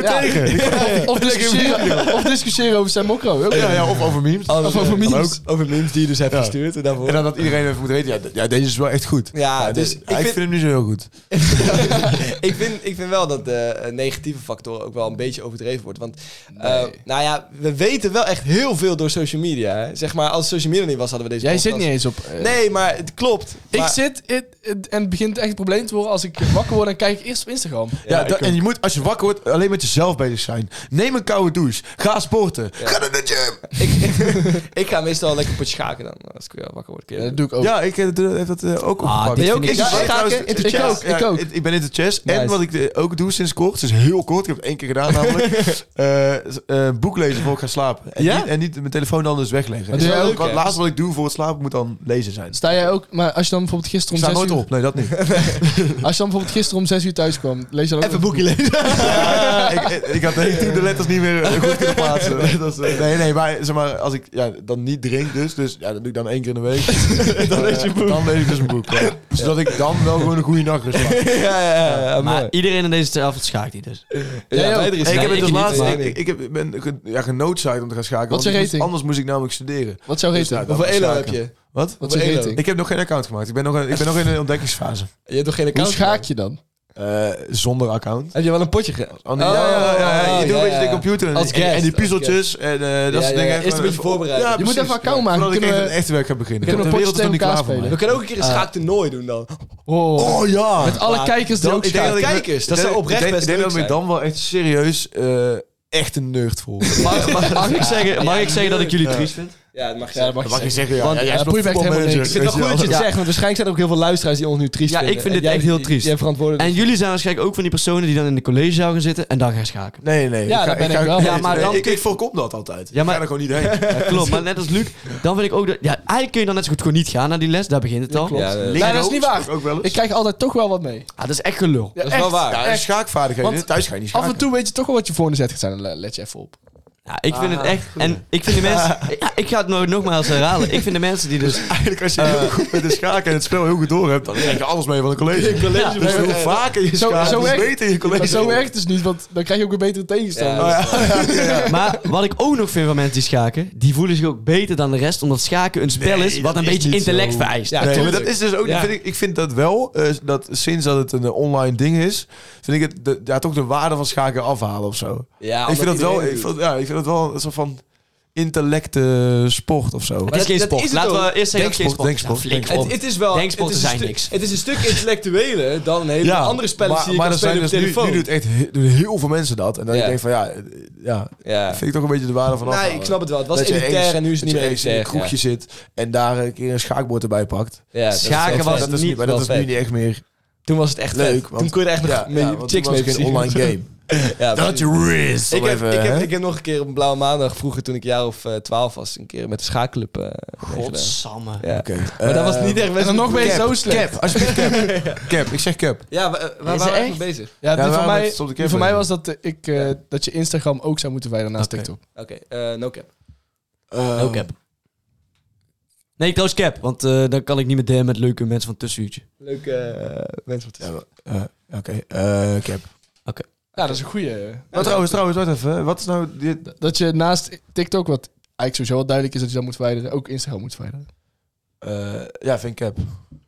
S5: Of, of discussiëren, of discussiëren over zijn mokro. ook.
S4: Ja, ja, of over memes.
S3: Of over
S4: Kan
S3: memes.
S4: ook.
S3: Over memes die je dus hebt
S4: Ja.
S3: gestuurd. En daarvoor.
S4: En dan dat iedereen even moet weten, ja, d- ja, deze is wel echt goed.
S3: Ja,
S4: dus
S3: dus
S4: ik,
S3: ik
S4: vind...
S3: vind-
S4: hem nu zo heel goed.
S3: ik, vind, ik vind wel dat de eh, negatieve factor ook wel een beetje overdreven wordt. Want eh, nou ja, we weten wel echt heel veel door social media. Hè. Zeg maar, als social media niet was, hadden we deze
S5: Jij zit
S3: podcast-
S5: niet eens op... eh,
S3: Nee, maar het klopt.
S5: Ik
S3: Maar-
S5: zit in- in- en het begint echt een probleem te worden als ik wakker word en kijk ik eerst op Instagram.
S4: Ja, dat- en je moet, als je wakker wordt, alleen met jezelf bezig zijn. Neem een koude douche. Ga sporten. Ga naar de gym.
S3: ik, ik ga meestal lekker potje schaken dan, als ik weer wakker word.
S5: Ja,
S3: keer.
S5: dat doe ik ook.
S4: Ja, ik heb dat, heb dat eh, ook opgepakt.
S7: dit vind
S4: ik
S7: ik-
S4: zit
S5: Ja,
S4: wel
S5: ik
S4: trouwens
S5: ook,
S4: into
S5: ik
S4: chess.
S5: ook, ik
S4: Ja,
S5: ook.
S4: Ik, ik ben into chess. En
S3: Nice.
S4: wat ik eh, ook doe sinds kort, het is heel kort, ik heb het één keer gedaan namelijk, eh eh, boek lezen voor ik ga slapen. En,
S3: Ja?
S4: niet, en niet mijn telefoon dan dus wegleggen.
S5: Dat is
S4: Dus
S5: wel
S4: ook
S5: leuk,
S4: wat-
S3: hè?
S4: laatste wat ik doe voor het slapen moet dan lezen zijn.
S5: Sta jij ook, maar als je dan bijvoorbeeld
S4: Ik
S5: gisteren
S4: sta
S5: om
S4: nooit
S5: zes uur,
S4: op. Nee, dat niet.
S5: als je dan bijvoorbeeld gisteren om zes uur thuis kwam, lees je dan ook
S3: Even een boekje lezen.
S4: Ja, ik, ik- ik had de hele tijd de letters niet meer eh, goed kunnen plaatsen. Dat is, eh, nee, nee, maar zeg maar, als ik ja, dan niet drink dus, dus ja, dat doe ik dan één keer in de week. dan lees je boek. Dan lees ik dus een boek, ja. Zodat ik dan wel gewoon een goede nachtrust maak.
S3: ja, ja, ja, ja,
S7: Maar
S3: mooi.
S7: iedereen in deze avond schaakt die dus.
S3: Ja,
S5: ook.
S3: wij drie
S4: Hey, ik
S3: zijn-
S4: heb het dus
S7: niet,
S4: laatst.
S7: maar-
S4: Ik, ik, ik heb, ik ben ge, ja, genoodzaakt om te gaan schaken.
S5: Wat is je
S4: want
S5: rating?
S4: Anders moest ik namelijk studeren.
S5: Wat zou
S4: Dus
S5: heten?
S4: nou, dan
S3: Hoeveel elo heb
S4: schaken.
S3: je?
S4: Wat?
S5: Wat is je
S3: Elo.
S5: rating?
S4: Ik heb nog geen account gemaakt. Ik ben nog, ik ben nog in een ontdekkingsfase.
S3: Je hebt toch geen
S5: Hoe
S3: account?
S5: schaak je dan?
S4: Eh, zonder account.
S3: Heb je wel een potje ge...
S4: Oh, nee, ja, ja, ja, ja, je
S3: Oh,
S4: doet
S3: ja,
S4: een beetje
S3: ja.
S4: de computer en,
S3: Als
S4: en- en
S3: guest,
S4: die
S3: als
S4: puzzeltjes en eh, dat
S3: Ja,
S4: soort
S3: ja,
S4: dingen.
S3: ja. Eerst een beetje voorbereiden.
S4: Ja,
S3: Je
S5: Je moet
S4: precies.
S5: even een account maken.
S4: Voordat ik
S5: Kunnen
S4: echt
S5: we-
S4: een echte werk ga beginnen.
S5: kunnen we
S4: de wereld is nog
S5: potjes
S4: niet
S5: tegen
S4: klaar voor
S5: elkaar
S4: mij.
S3: We kunnen ook een keer een schaaktoernooi doen dan.
S5: Oh,
S4: Oh ja!
S5: met alle
S3: maar
S5: kijkers die
S3: dan-
S5: ook
S3: ik denk
S5: schaken.
S3: dat kijkers, dat
S4: ik denk-
S3: zou oprecht
S4: ik denk-
S3: best
S4: Ik denk
S3: leuk
S4: dat ik me
S3: zijn.
S4: dan wel echt serieus eh, echt een nerd voel.
S7: Mag, mag- mag ik zeggen, mag ik zeggen dat ik jullie triest vind?
S3: Ja, dat mag je
S5: Ja, dat
S3: zeggen.
S5: mag je
S4: Dat mag je
S5: zeggen.
S4: zeggen, ja.
S5: Want,
S4: ja, jij
S5: eh,
S4: is nog
S5: boeit mij echt helemaal
S4: voetbalmanager,
S5: niks.
S3: Ik vind het
S4: weet
S3: wel goed dat je het
S4: wel.
S3: zegt, want waarschijnlijk zijn er ook heel veel luisteraars die ons nu triest
S7: Ja, ik
S3: vinden.
S7: vind dit
S3: En jij-
S7: echt heel triest.
S3: Jij verantwoordelijk.
S7: En jullie zijn waarschijnlijk ook van die personen die dan in de collegezaal gaan zitten en dan gaan schaken.
S4: Nee, nee.
S5: Ja, daar ben ik wel.
S7: Ja, maar
S4: nee,
S7: dan
S4: ik,
S7: kun
S4: ik voorkom dat altijd.
S7: Ja, maar-
S4: Ik ga er gewoon niet heen.
S7: Ja, klopt, maar net als Luc, dan vind ik ook dat... Ja, eigenlijk kun je dan net zo goed gewoon niet gaan naar die les, daar begint het al.
S3: klopt. Ja,
S7: dat
S3: dat-
S5: Nee, dat is niet waar.
S4: Ook wel eens.
S5: Ik krijg altijd toch wel wat mee.
S7: is echt gelul.
S3: Dat is wel
S5: echt.
S3: waar.
S4: ja, en Dus schaakvaardigheden.
S5: Want
S4: Thuis ga je niet schaken.
S5: Af en toe weet je toch wel wat je voor de zet gaat zijn. Dan Let je even op.
S6: Ja, ik vind
S7: Ah,
S6: het echt. En ik vind de mensen. Ja, ik ga het nog- nogmaals herhalen. Ik vind de mensen die dus.
S4: Eigenlijk als je heel
S7: Eh,
S4: goed met de schaken en het spel heel goed door hebt, dan krijg je alles mee van een college. Een college
S6: Ja.
S4: dus hoe vaker je
S5: Zo-
S4: schaken,
S5: zo
S4: hoe
S5: werkt-
S4: beter je college.
S5: Maar zo werkt het dus niet, want dan krijg je ook een betere tegenstander.
S4: Oh, ja, ja, ja, ja.
S6: Maar wat ik ook nog vind van mensen die schaken, die voelen zich ook beter dan de rest, omdat schaken een spel
S4: Nee,
S6: is wat
S4: dat
S6: een
S4: is
S6: beetje
S4: niet
S6: intellect
S4: zo.
S6: vereist.
S3: Ja,
S4: nee, maar
S3: tuurlijk.
S4: dat is dus ook,
S3: Ja.
S4: vind ik, ik vind dat wel, eh, dat sinds dat het een eh, online ding is, vind ik het de, ja, toch de waarde van schaken afhalen of zo.
S3: Ja,
S4: ik, vind dat
S3: omdat
S4: wel,
S3: iedereen
S4: ik,
S3: doet.
S4: vind, ja, ik vind dat wel een soort van intellecte sport of zo.
S6: Het is
S3: dat-
S6: geen
S3: dat
S6: sport.
S3: is het
S6: Laten we
S3: ook.
S6: eerst zeggen dat het geen sport is.
S4: Denksport,
S6: Ja,
S4: denksport,
S6: flink.
S3: Het, het is wel. Het is,
S6: Denksporten
S3: een
S6: zijn
S3: stuk-
S6: niks.
S3: het is een stuk intellectueler dan een hele andere spellen
S4: maar,
S3: die je
S4: maar
S3: kan
S4: er zijn
S3: spelen op
S4: dus nu,
S3: telefoon.
S4: nu doet echt he- doen heel veel mensen dat. En dan
S3: Ja.
S4: denk ik van ja, eh, ja,
S3: ja.
S4: vind ik toch een beetje de waarde van
S3: Nee,
S4: afhalen.
S3: ik snap het wel. Het was
S4: Dat je
S3: elitair
S4: eens-
S3: en nu is het
S4: dat
S3: niet meer
S4: je eens in
S3: elitair.
S4: een kroegje
S3: ja.
S4: zit en daar een keer een schaakbord erbij pakt.
S3: Ja, dat is wel
S6: Schaken
S3: vet.
S6: was
S4: dat is,
S6: niet
S4: maar dat
S3: wel
S4: is
S3: vet.
S4: nu niet echt meer
S3: Toen was het echt
S4: leuk.
S3: leuk.
S4: want-
S3: Toen kon je er echt nog
S4: ja,
S3: mee,
S4: ja, want
S3: chicks
S4: toen was
S3: mee
S4: het geen online game.
S3: game. ja,
S4: Dat had je Riz.
S3: Ik heb,
S4: even,
S3: ik,
S4: hè?
S3: heb, ik heb nog een keer op een blauwe maandag vroeger, toen ik een jaar of eh, 12 was, een keer met de schaakclub eh meegedaan.
S6: Godsamme.
S3: Ja.
S4: Oké.
S3: Maar dat was
S4: Eh,
S3: niet echt best
S5: en dan nog ben je
S4: Cap,
S5: zo slecht.
S4: Cap, alsjeblieft cap. cap, ik zeg cap.
S3: Ja, wa- eh, waar,
S6: Is
S3: waren we
S6: er
S3: eigenlijk mee bezig?
S5: Ja, die
S4: waarom
S5: van mij,
S4: het stond ik
S5: die
S4: even
S5: van mij was
S4: in?
S5: dat, eh, ik, eh, dat je Instagram ook zou moeten verwijderen naast
S4: Oké.
S5: TikTok.
S3: Oké, eh, no cap.
S4: Eh,
S3: Oh,
S6: No Oh, cap. Nee, trouwens cap, want eh, dan kan ik niet meer DM met leuke mensen van tussenuurtje.
S3: Leuk eh mens wat te
S4: ja, eh, Oké, eh, cap.
S5: Ja, dat is een goeie. eh,
S4: Maar trouwens, trouwens, wacht even. Wat is nou... Dit?
S5: Dat je naast TikTok, wat eigenlijk sowieso wel duidelijk is dat je dat moet verwijderen, ook Instagram moet verwijderen.
S4: eh, ja, vind ik cap.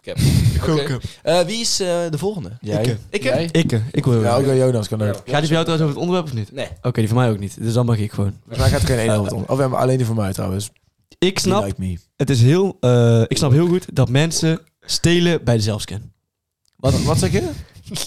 S3: cap. Oké. Eh, wie is eh, de volgende?
S4: Jij?
S3: Ik heb...
S5: Jij?
S6: Ik, eh, ik wil
S4: Ja,
S6: wel.
S4: ook wel Jonas kan ook.
S3: Ja.
S6: Gaat die voor jou trouwens over het onderwerp of niet?
S3: Nee.
S6: Oké, die van mij ook niet. Dus dan mag ik gewoon.
S4: Volgens mij gaat er geen ene hand om. Of we hebben alleen die van mij trouwens.
S6: Ik
S4: Die
S6: snap,
S4: like me.
S6: het is heel, eh, ik snap heel goed dat mensen stelen bij de zelfscan.
S4: Wat, wat zeg je?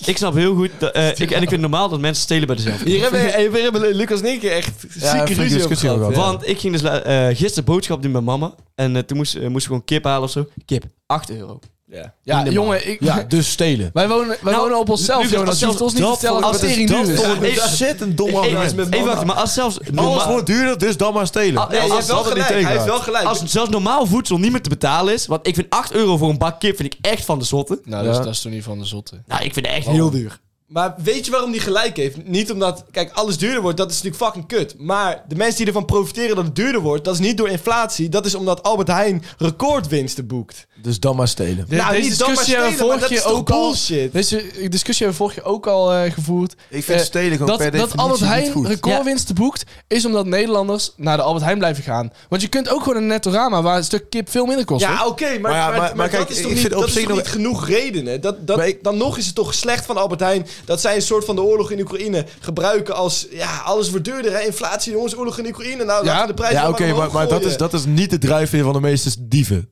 S6: Ik snap heel goed, dat, eh, ik, en ik vind het normaal dat mensen stelen bij de zelfscan.
S3: Hier hebben, hey, we hebben Lucas en ik echt zieke
S4: flinke
S3: ruzie over
S4: discussie
S3: gehad.
S4: over
S3: ja.
S4: gehad.
S6: Want ik ging dus la- eh, gisteren boodschap doen bij mama. En eh, toen moest, eh, moest ik gewoon kip halen of zo. Kip, 8 euro.
S3: Ja.
S5: Ja,
S6: Minimaal.
S5: jongen, ik,
S4: Ja, dus stelen.
S5: wij wonen, wij
S6: Nou,
S5: wonen op onszelf,
S6: Lucas,
S5: Jonas.
S6: als
S5: Je hoeft ons
S6: zelfs
S5: niet te
S6: dat
S5: vertellen
S6: voor-
S5: wat
S6: als
S5: tering
S6: dat
S5: duur is.
S6: voor-
S5: Ja,
S6: Even-
S4: een dom
S6: Even
S4: argument.
S6: wachten, maar als zelfs
S4: Alles
S6: normaal-
S4: wordt duurder, dus dan maar stelen.
S6: Ah, nee,
S3: Nee,
S6: als
S3: je hebt wel
S4: dat er niet
S3: gelijk.
S4: tegen
S3: Hij heeft wel
S4: gaat.
S3: gelijk.
S6: Als zelfs normaal voedsel niet meer te betalen is. Want ik vind 8 euro voor een bak kip vind ik echt van de zotte.
S5: Nou, dat is,
S4: Ja.
S5: dat is toch niet van de zotte.
S6: Nou, ik vind het echt heel duur.
S3: Maar weet je waarom die gelijk heeft? Niet omdat, kijk, alles duurder wordt, dat is natuurlijk fucking kut. Maar de mensen die ervan profiteren dat het duurder wordt, dat is niet door inflatie. Dat is omdat Albert Heijn recordwinsten boekt.
S4: Dus dan maar stelen.
S3: Nou,
S5: deze
S3: niet dan maar
S5: discussie hebben we
S3: stelen, maar
S5: vorig
S3: dat
S5: keer
S3: is toch
S5: ook al.
S3: bullshit?
S5: Deze discussie hebben we vorig jaar ook al eh, gevoerd.
S4: Ik vind
S5: Eh,
S4: stelen gewoon
S5: dat,
S4: per
S5: dat
S4: definitie
S5: Albert
S4: niet
S5: Heijn
S4: goed.
S5: recordwinsten boekt, is omdat Nederlanders naar de Albert Heijn blijven gaan. Want je kunt ook gewoon een Nettorama waar een stuk kip veel minder kost. hoor.
S3: Ja, oké, maar,
S4: Maar ja,
S3: maar,
S4: maar-
S3: maar
S4: maar
S3: dat
S4: kijk,
S3: is toch
S4: ik
S3: niet,
S4: vind op
S3: dat is
S4: zich
S3: toch
S4: nog-
S3: niet genoeg redenen? Dat, dat,
S4: Maar ik-
S3: Dan nog is het toch slecht van Albert Heijn dat zij een soort van de oorlog in Oekraïne gebruiken als, ja, alles wordt duurder, hè? inflatie, jongens, oorlog in Oekraïne, nou,
S5: Ja,
S3: laten we de prijs
S4: Ja, oké, maar, maar dat, is, dat is niet de drijfveer van de meeste dieven.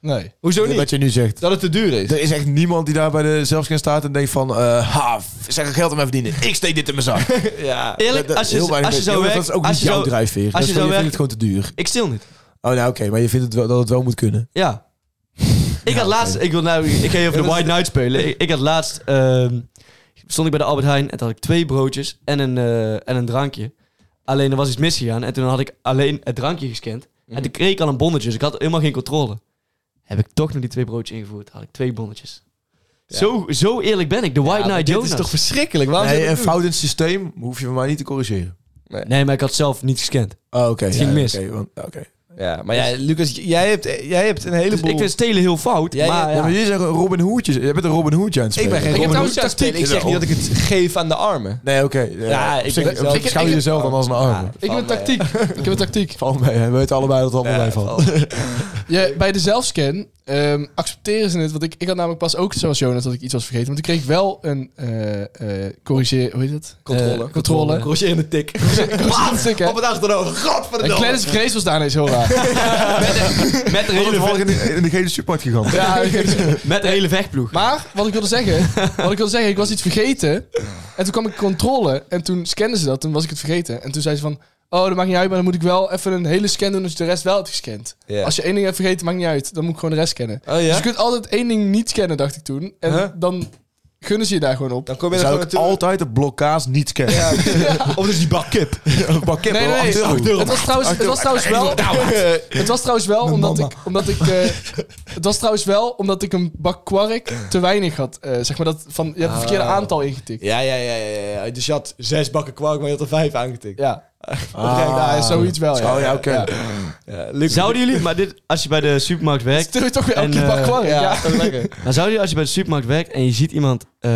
S5: Nee.
S3: Hoezo niet?
S4: Wat je nu zegt.
S3: Dat het te duur is.
S4: Er is echt niemand die daar bij de zelfscan staat en denkt van... eh ha, f- zeg er geld aan mij verdienen. Ik steek dit in mijn zak.
S3: Ja.
S6: Eerlijk,
S4: Dat-
S6: als je,
S4: heel weinig
S6: als
S4: mensen-
S6: je zo
S4: Jongens,
S6: werkt...
S4: Dat is ook
S6: als
S4: niet
S6: je
S4: jouw
S6: zo-
S4: drijfveer.
S6: als
S4: Dat is
S6: je
S4: gewoon,
S6: zo
S4: je vindt
S6: werkt-
S4: het gewoon te duur.
S6: Ik stil niet.
S4: Oh, nou oké, maar je vindt het wel, dat het wel moet kunnen.
S6: Ja. Ik had laatst... Ik, wil nou, ik ga even de White Night spelen. Ik, ik had laatst... ehm, stond ik bij de Albert Heijn en toen had ik twee broodjes en een, eh, en een drankje. Alleen er was iets misgegaan en toen had ik alleen het drankje gescand.
S3: Mhm.
S6: En toen kreeg ik al een bonnetje, dus ik had helemaal geen controle. Heb ik toch nog die twee broodjes ingevoerd, had ik twee bonnetjes. Zo, zo eerlijk ben ik, de White
S3: Ja, maar
S6: Night
S3: dit
S6: Jonas.
S3: is toch verschrikkelijk? Waarom
S4: Nee,
S3: zou je dat
S4: een
S3: doen?
S4: fout in het systeem hoef je van mij niet te corrigeren.
S6: Nee, maar ik had zelf niet gescand.
S4: Oh, oké. Het
S6: ging mis.
S4: Oké, want- oké.
S3: Ja, maar ja, Lucas, jij hebt, jij hebt een
S6: Dus
S3: heleboel...
S6: ik vind stelen heel fout,
S3: Ja, ja,
S6: maar...
S4: Ja, maar jullie zijn gewoon Robin Hoedjes. Je bent een Robin Hoedje aan het
S3: ik
S4: spelen.
S3: ben geen
S5: Ik heb
S3: Robin
S5: trouwens
S3: Hood aan het spelen. Ik
S5: tactiek.
S3: zeg niet dat ik het geef aan de armen.
S4: Nee, oké. Ja,
S3: Ja,
S4: op
S3: ik
S4: zich,
S3: ben zelf-
S4: zelf,
S3: ik-
S4: schouw
S5: ik-
S4: jezelf dan als een arme.
S5: Ik heb een
S3: eh,
S5: tactiek. Ik heb een tactiek.
S4: Val mee, hè. we weten allebei dat het allemaal bij valt.
S5: Je, bij de zelfscan ehm, accepteren ze het. Want ik, ik had namelijk pas ook, zoals Jonas, dat ik iets was vergeten. Want ik kreeg wel een eh, eh, corrigeer... Hoe heet dat?
S3: Controle.
S5: Eh, controle.
S3: Roger in de tik.
S5: Een stuk, hè?
S3: Op het achterhoofd. Godverdomme.
S5: Een Clarence Grace was daarna zo raar.
S6: Met een hele,
S4: Toevallig
S6: ve-
S4: in de, in de gele supermarkt gegaan.
S5: Ja, ik-
S6: met een hele vechtploeg.
S5: maar wat ik wilde zeggen, wat ik wilde zeggen, ik was iets vergeten. En toen kwam ik controle en toen scanden ze dat. Toen was ik het vergeten. En toen zei ze van, oh, dat maakt niet uit, maar dan moet ik wel even een hele scan doen als je de rest wel hebt gescand.
S3: Ja.
S5: Als je één ding hebt vergeten, maakt niet uit. Dan moet ik gewoon de rest scannen.
S3: Oh
S5: Dus
S3: ja?
S5: je kunt altijd één ding niet scannen, dacht ik toen. En
S3: Huh?
S5: dan gunnen ze je daar gewoon op.
S3: Dan kom
S4: Dan
S3: je er
S4: zou
S3: gewoon
S4: ik
S3: naartoe.
S4: altijd de blokkaas niet scannen. Ja.
S3: Of dus die bak kip.
S4: Bak
S5: Nee, nee, nee. Het was trouwens, het was trouwens wel...
S3: Nou, Oh,
S5: Het was trouwens wel omdat ik... Omdat ik eh, het was trouwens wel omdat ik een bak kwark te weinig had. eh, zeg maar dat
S3: Ah.
S5: van... Je hebt het verkeerde aantal ingetikt.
S3: Ja, ja, ja, ja, ja. Dus je had zes bakken kwark, maar je had er vijf aangetikt.
S5: Ja. ja, zoiets wel, ja.
S4: Oh ja, oké.
S3: Ja, Luc-
S6: Zouden jullie, maar dit, als je bij de supermarkt werkt,
S5: Stel je toch weer elke
S6: En,
S5: keer
S6: eh,
S5: bak kwark,
S3: ja,
S5: ja.
S3: dat is lekker.
S6: Maar zou je als je bij de supermarkt werkt en je ziet iemand eh,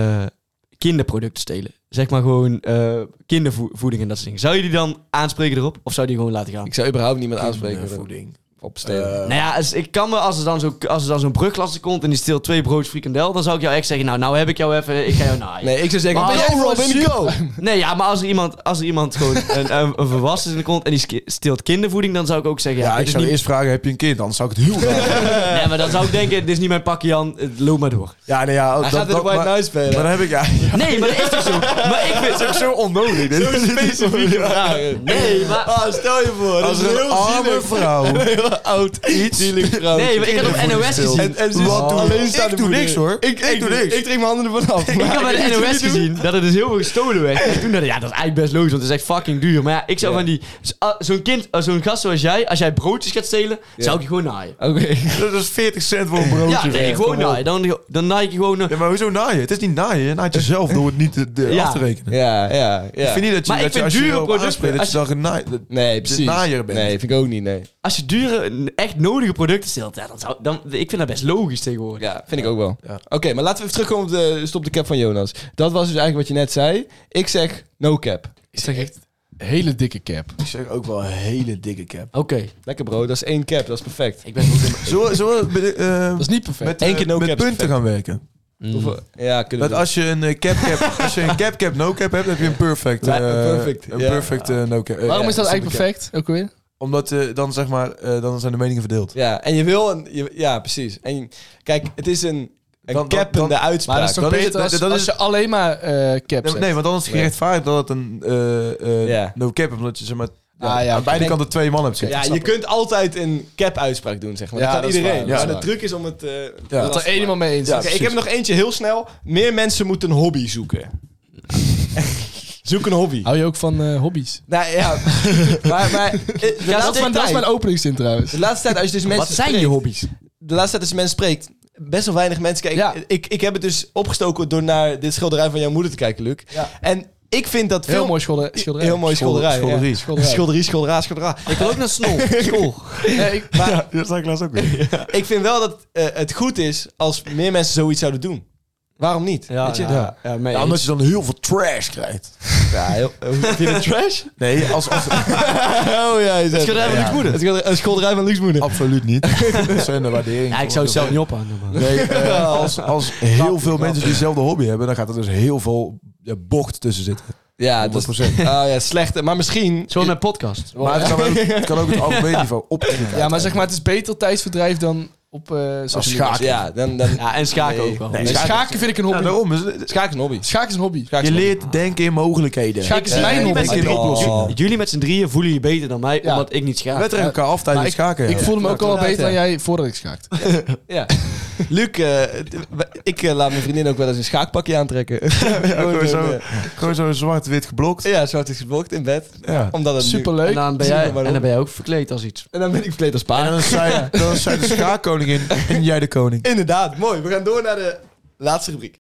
S6: kinderproducten stelen, zeg maar gewoon eh, kindervoeding en dat soort dingen, zou je die dan aanspreken erop of zou die gewoon laten gaan?
S3: Ik zou überhaupt niemand aanspreken op-
S4: eh, Voeding. Eh.
S3: op stelen.
S6: nou ja, als, ik kan me, als er dan zo'n als er dan zo'n brugklasser komt en die steelt twee broodjes frikandel, dan zou ik jou echt zeggen, nou, nou heb ik jou even, ik ga jou naaien.
S3: nee, ik zou zeggen,
S6: Maar
S3: Oh, ben
S6: als-
S3: jij Robin? Go!
S6: Nee, ja, maar als er iemand, als er iemand gewoon een, een, een volwassene in de komt en die ske- steelt kindervoeding, dan zou ik ook zeggen, ja,
S4: Ja,
S6: dit
S4: ik
S6: is
S4: zou
S6: niet-
S4: eerst vragen, heb je een kind? Anders zou ik het heel graag.
S6: nee, maar dan zou ik denken, dit is niet mijn pakje Jan, eh, loop maar door.
S4: Ja, nee, ja.
S3: Hij gaat in de White
S4: maar,
S3: Night spelen.
S4: maar dan heb ik... Ja,
S6: Nee, maar dat is toch zo? Maar ik vind
S4: Het is ook zo onnodig. Dit is
S3: specifieke vragen.
S6: Nee, maar...
S3: Ah, stel je voor, dat
S4: Als
S3: is
S4: er
S3: heel
S4: een arme
S3: zielig.
S4: vrouw...
S3: Heel oud, iets zielig vrouw.
S6: Nee, maar ik had op NOS gezien.
S3: En, en ze is
S4: Wat doe-
S3: alleen
S4: ik
S3: staan
S4: doe
S3: te moeder.
S4: niks, hoor.
S3: Ik, ik, doe niks. Ik trek mijn handen ervan af.
S6: Ik had bij de NOS gezien dat er dus heel veel gestolen werd. En toen dacht ik, ja, dat is eigenlijk best logisch, want het is echt fucking duur. Maar ja, ik zou van die... z- ah, Zo'n kind, ah, zo'n gast zoals jij, als jij broodjes gaat stelen, zou ik je gewoon naaien.
S3: Oké.
S4: Dat is 40 cent voor een broodje.
S6: Ja, nee,
S4: echt.
S6: gewoon naaien. Dan, dan naai ik je gewoon... eh,
S4: Ja, maar hoezo naaien? Het is niet naaien. Je naait jezelf door het niet te, de-
S6: Ja.
S4: af te rekenen.
S3: Ja, ja, ja.
S4: Ik vind niet dat je,
S6: Maar
S4: dat je
S6: ik vind
S4: als je
S6: dure
S4: erop
S6: producten,
S4: aanspreekt, dat
S6: als
S4: je dan genaaid... dat-
S3: Nee,
S4: je
S3: precies.
S4: naaier bent.
S3: Nee, vind ik ook niet, nee.
S6: Als je dure, echt nodige producten stelt, ja, dan zou... Dan, ik vind dat best logisch tegenwoordig.
S3: Ja, vind ik ook wel.
S4: Ja.
S3: Oké, maar laten we even terugkomen op de stop de cap van Jonas. Dat was dus eigenlijk wat je net zei. Ik zeg no cap.
S5: Ik zeg echt hele dikke cap.
S4: Ik zeg ook wel een hele dikke cap.
S6: Oké,
S3: Lekker bro, dat is één cap, dat is perfect.
S6: ik ben goed.
S4: Zullen we, zullen we met, eh,
S5: Dat is niet perfect.
S4: met,
S3: Eén
S4: eh,
S3: keer no
S4: met
S3: cap is
S4: punten gaan werken?
S3: Hoeveel- Ja, kunnen we
S4: Dat
S3: doen.
S4: als je een eh, cap cap, als je een cap cap no cap hebt, heb je een perfect, eh,
S3: Ja, een perfect,
S4: een
S3: ja.
S4: perfect eh, no cap. eh,
S5: Waarom
S4: ja,
S5: is dat
S4: stop
S5: eigenlijk
S4: de cap.
S5: perfect? Ook weer?
S4: Omdat eh, dan zeg maar, eh, dan zijn de meningen verdeeld.
S3: Ja, en je wil een... je- ja, precies. En je- kijk, het is een, een
S4: Dan- dan-
S3: cappende
S4: dan-
S3: uitspraak.
S5: Maar dat is toch
S4: dat is-
S5: beter als,
S4: dat- dat
S5: als
S4: is-
S5: je alleen maar eh cap
S4: Nee,
S5: zegt?
S4: nee, want dan is het gerechtvaardigd dat het een eh, eh,
S3: Ja.
S4: no cap is, omdat je zeg maar ja,
S5: Ah, ja,
S4: aan beide
S5: ik-
S4: kanten twee mannen hebt
S3: Ja,
S4: zitten.
S3: je kunt altijd een cap-uitspraak doen, zeg maar.
S5: Ja,
S3: dat kan
S5: dat is
S3: iedereen.
S5: waar, dat is
S3: maar de
S5: waar.
S3: truc is om het... eh,
S4: Ja.
S5: Dat er
S3: lastig
S5: één
S3: te
S5: iemand
S3: maken.
S5: mee eens
S3: Oké,
S5: is.
S3: ik heb nog eentje heel snel. Meer mensen moeten een hobby zoeken. Zoek een hobby.
S5: Hou je ook van eh, hobby's?
S3: Nou ja, maar... maar eh, de,
S5: Ja, dat, is
S3: laatste
S5: mijn, dat is
S3: tijd,
S5: mijn openingszin trouwens.
S3: de laatste tijd, als je dus mensen
S6: Wat zijn je
S3: spreekt-
S6: hobby's?
S3: De laatste tijd als je mensen spreekt... Best wel weinig mensen kijken.
S5: Ja.
S3: Ik, ik heb het dus opgestoken door naar dit schilderij van jouw moeder te kijken, Luc.
S5: Ja.
S3: En ik vind dat
S5: Heel
S3: veel...
S5: mooi schilder- schilderij.
S3: Heel mooi schilderij. ja.
S4: schilderie.
S5: Schilderij.
S3: Schilderie, schilderij, schilderij.
S6: Ik wil ook naar Snol. School.
S5: Ja, ik- maar-
S4: Ja, dat zag ik laatst ook weer.
S3: ik vind wel dat eh, het goed is als meer mensen zoiets zouden doen. Waarom niet?
S6: Ja,
S3: Weet je?
S6: ja. ja, mee
S4: Ja,
S6: eens.
S4: omdat je dan heel veel trash krijgt.
S3: Ja, heel, vind je het trash?
S4: Nee, als, als,
S3: Oh ja, je zegt-
S6: schilderij van
S3: Ja.
S6: Luc Moeder.
S3: Het schilderij- Een schilderij van Luc Moeder.
S4: absoluut niet. Dat zijn de waardering.
S6: Ja, ik zou het zelf niet ophangen. man.
S4: Nee, eh, als, als heel veel mensen diezelfde hobby hebben, dan gaat er dus heel veel ja, bocht tussen zitten.
S3: Ja, dat is...
S4: 100%.
S3: Oh ja, slecht. Maar misschien...
S6: Zoals mijn podcast.
S4: Maar het kan ook het, kan ook het algemeen niveau op.
S5: ja, maar zeg maar, het is beter tijdsverdrijf dan op eh social media.
S4: schaken.
S3: Ja, dan... dan
S6: Ja, en schaken
S3: Nee.
S6: ook wel.
S5: Nee, schaken vind ik een hobby.
S4: daarom. is-
S3: Schaak is een hobby.
S5: Schaken is een hobby.
S3: Schaak is
S4: je
S3: een
S4: leert denken in mogelijkheden.
S5: Schaken is mijn
S6: jullie
S5: hobby.
S6: met z'n
S3: Eh, Ik
S6: drieën-
S3: denk oplossing.
S6: J- Jullie met z'n drieën voelen je beter dan mij,
S5: Ja.
S6: omdat ik niet schaak.
S4: Wij trekken elkaar af tijdens
S5: Maar
S4: het schaken.
S5: Ik voelde me ook al wel
S3: inderdaad,
S5: beter dan
S3: ja.
S5: jij voordat ik schaakte.
S3: Ja. Luc, eh, d- ik eh, laat mijn vriendin ook wel eens een schaakpakje aantrekken.
S4: gewoon,
S3: Gewoon,
S4: zo,
S3: eh,
S4: gewoon zo zwart-wit geblokt.
S3: Ja, zwart is geblokt in bed.
S4: Ja.
S3: Omdat het nu-
S6: En
S5: Superleuk.
S6: dan, ben
S3: Zie
S6: jij,
S3: je maar
S6: en dan
S3: op.
S6: ben jij ook verkleed als iets.
S3: En dan ben ik verkleed als
S4: En
S3: paard.
S4: dan zijn, dan zijn de schaakkoningin en jij de koning.
S3: Inderdaad, mooi. We gaan door naar de laatste rubriek.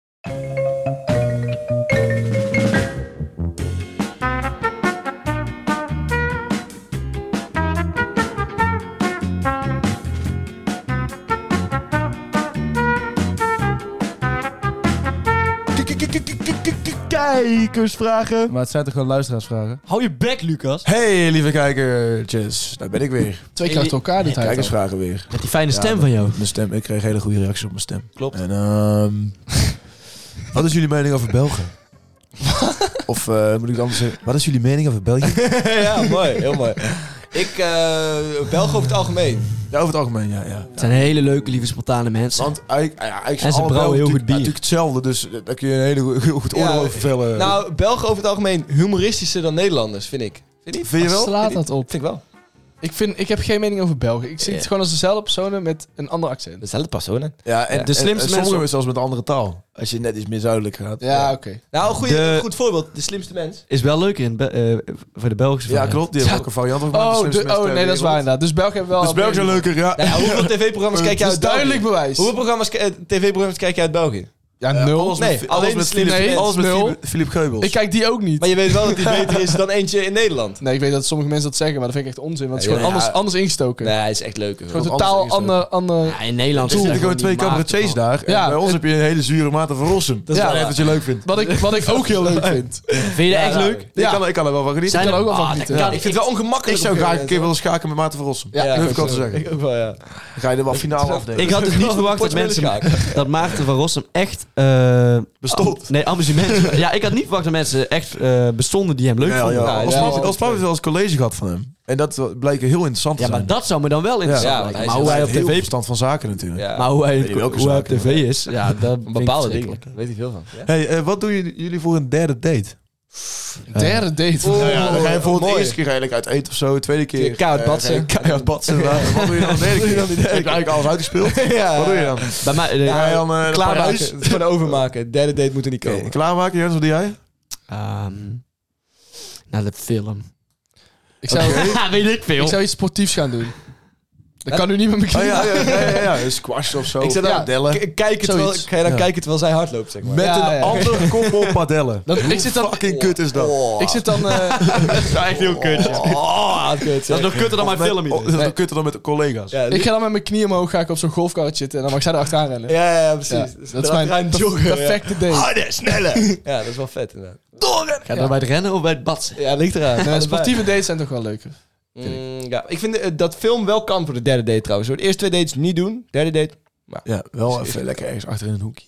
S3: Kijkersvragen.
S5: Maar het zijn toch gewoon luisteraarsvragen?
S6: Hou je bek, Lucas.
S4: Hey lieve kijkertjes, daar ben ik weer.
S5: Twee keer achter elkaar dit tijd. al.
S4: Kijkersvragen weer.
S6: Met die fijne
S4: Ja,
S6: stem
S4: dat-
S6: van jou.
S4: Mijn stem, ik kreeg hele goede reacties op mijn stem.
S3: Klopt.
S4: En, ehm, wat is jullie mening over Belgen? of eh, moet ik het anders zeggen? Wat is jullie mening over België?
S3: ja, mooi. Heel mooi. Ik, eh Belgen over het algemeen.
S4: ja, over het algemeen, ja. ja.
S6: Het zijn hele leuke, lieve, spontane mensen.
S4: Want eigenlijk, ja, eigenlijk
S6: En ze
S4: alle
S6: brouwen
S4: Belgen
S6: heel goed
S4: natuurlijk-
S6: bier.
S4: natuurlijk hetzelfde, dus eh, daar kun je een hele goe- heel goed oordeel
S3: Ja,
S4: over vellen.
S3: Nou, Belgen over het algemeen humoristischer dan Nederlanders, vind ik. Vind je niet?
S4: Vind je wel?
S5: Slaat dat op.
S3: Vind ik wel.
S5: Ik, vind, ik heb geen mening over Belgen. Ik zie
S3: Ja.
S5: het gewoon als dezelfde personen met een ander accent.
S3: Dezelfde personen.
S4: Ja, en
S6: de slimste
S4: sommigen
S6: mensen-
S4: zelfs met een andere taal. Als je net iets meer zuidelijk gaat.
S5: Ja, oké.
S3: Nou, een goeie-
S6: De-
S3: een goed voorbeeld. De slimste mens.
S6: Is wel leuker in, Be- eh, voor de Belgische
S4: Ja,
S6: variant.
S4: klopt. Die hebben ook een variant op.
S5: Oh, de- oh nee, dat is waar inderdaad. Dus Belgen hebben wel...
S4: eh, Dus België leuker, ja.
S3: Nou ja, hoeveel tv-programma's kijk jij
S5: Dat
S3: uit
S5: is duidelijk
S3: België?
S5: bewijs.
S3: Hoeveel programma's, eh, tv-programma's kijk jij uit België?
S5: Ja, nul.
S4: alles
S3: Nee,
S4: met,
S3: alleen
S4: alles
S3: de
S4: met,
S3: slimme
S4: Philip,
S5: mensen.
S4: alles met
S5: Nul.
S4: Philip, Philip Geubels.
S5: Ik kijk die ook niet.
S3: Maar je weet wel dat die beter is dan eentje in Nederland.
S5: Nee, ik weet dat sommige mensen dat zeggen, maar dat vind ik echt onzin. Want het is
S3: Ja,
S5: gewoon
S3: ja.
S5: anders, anders ingestoken.
S3: Nee, hij is echt leuker.
S5: Gewoon
S3: hoor.
S4: Gewoon
S5: totaal
S4: anders ingestoken.
S5: ander... ander...
S7: Ja, in Nederland
S4: Toen
S7: zijn
S4: zitten gewoon
S7: gewoon
S4: twee
S7: die
S4: cabaretiers
S7: maten
S4: daar. En
S5: Ja,
S4: bij
S5: het-
S4: ons heb je een hele zure maat van Rossum. Dat
S3: is
S4: is
S3: wel
S4: wel
S3: waar.
S4: wat je leuk vindt.
S5: Wat ik, wat ik ook heel leuk vind.
S7: van. Vind je dat echt leuk?
S4: Ik, kan, er- ik kan er wel van genieten.
S7: Zijn
S5: kan
S7: er-
S5: er ook wel van
S7: Ah,
S5: genieten,
S7: dat
S5: ja.
S7: kan
S3: Ik vind het wel ongemakkelijk.
S4: Ik zou
S3: op een
S4: graag
S3: gegeven
S4: een keer willen schaken met Maarten van Rossum.
S3: moment.
S4: dat durf ik al
S3: ook
S4: te
S3: zo.
S4: zeggen.
S3: Ik ook wel, ja.
S4: Ga je er wel finaal afdelen.
S7: Ik had dus niet
S3: Gewoon
S7: verwacht dat
S3: portemonnee
S7: mensen... Dat Maarten van Rossum echt... eh,
S4: Bestond.
S7: am- Nee, amusement. Ja, ik had niet verwacht dat mensen echt eh, bestonden die hem leuk
S4: Ja,
S7: vonden.
S4: ja.
S3: Ja,
S4: Als
S3: ja,
S4: Maarten-
S3: ja.
S4: Als Paul heeft wel eens college gehad van hem. En dat bleek heel interessant te
S7: Ja,
S4: zijn.
S7: maar dat zou me dan wel interessant
S3: Ja, want
S7: lijken.
S3: hij
S7: Maar
S3: is
S7: hoe hij op
S4: Heel
S7: tv...
S4: verstand van zaken natuurlijk.
S3: Ja.
S7: Maar hoe hij,
S4: Weet je welke
S7: hoe hij op
S4: zaken,
S7: tv is, ja, dat vind ik
S3: Bepaalde
S7: verschrikkelijk.
S3: dingen. Daar weet ik veel van. Ja?
S4: Hey, eh, wat doen jullie, jullie voor een derde date?
S5: Derde date.
S4: Nou ja, dan ga je voor de
S3: mooi.
S4: eerste keer eigenlijk uit eten of zo. Tweede keer...
S3: Koud
S4: eh,
S3: badsen.
S4: ga je Keihard badsen. maar Wat doe je dan de derde keer? Heb je eigenlijk alles uitgespeeld?
S3: Ja.
S4: Wat doe je dan?
S7: Bij mij... eh,
S4: Ga je dan eh, naar
S3: Klaarmaken.
S4: Parijs?
S3: Het is Gewoon overmaken. Derde date moet er niet
S4: Oké,
S3: komen.
S4: Klaarmaken, Jens, wat doe jij?
S7: ehm, naar de film.
S5: Ik zou,
S7: Ja, weet ik veel.
S5: ik zou iets sportiefs gaan doen. Dat kan nu niet met mijn
S4: Oh ja,
S5: kinderen.
S4: ja, ja, ja, ja, ja. Squash of zo.
S3: Ik zet
S4: Ja,
S3: dan,
S4: padellen.
S3: k- kijk het wel,
S5: Zoiets.
S3: ga je dan kijken terwijl zij hardloopt, zeg maar.
S4: Met
S5: Ja,
S4: een
S5: ja.
S4: ander koppel padellen.
S5: Dat, ik zit dan...
S4: Fucking kut is Oh. dat.
S5: Ik zit dan... eh,
S7: echt heel kut.
S3: Oh, dat kut,
S7: Dat
S3: zeg.
S7: is nog kutter dan mijn
S4: Met-
S7: film
S4: oh,
S7: hier.
S4: Dat is nog kutter dan met de collega's.
S3: Ja,
S5: ik ga dan met mijn knieën omhoog, ga ik op zo'n golfkarretje zitten en dan mag zij er achteraan rennen.
S3: ja, ja,
S5: Ja,
S3: precies.
S5: dat is mijn
S3: Erachteraan joggen, ja.
S5: perfecte date.
S3: Harder, sneller. Ja, dat is wel vet inderdaad.
S7: Ga je dan bij het rennen of bij het badsen?
S3: Ja, ligt eraan.
S5: Nee,
S3: Allebei.
S5: sportieve dates zijn toch wel leuker.
S3: Mm, ja. Ik vind eh, dat film wel kan voor de derde date trouwens. Hoor. De eerste twee dates niet doen. Derde date.
S4: Ja, wel even lekker ergens achter in een hoekje.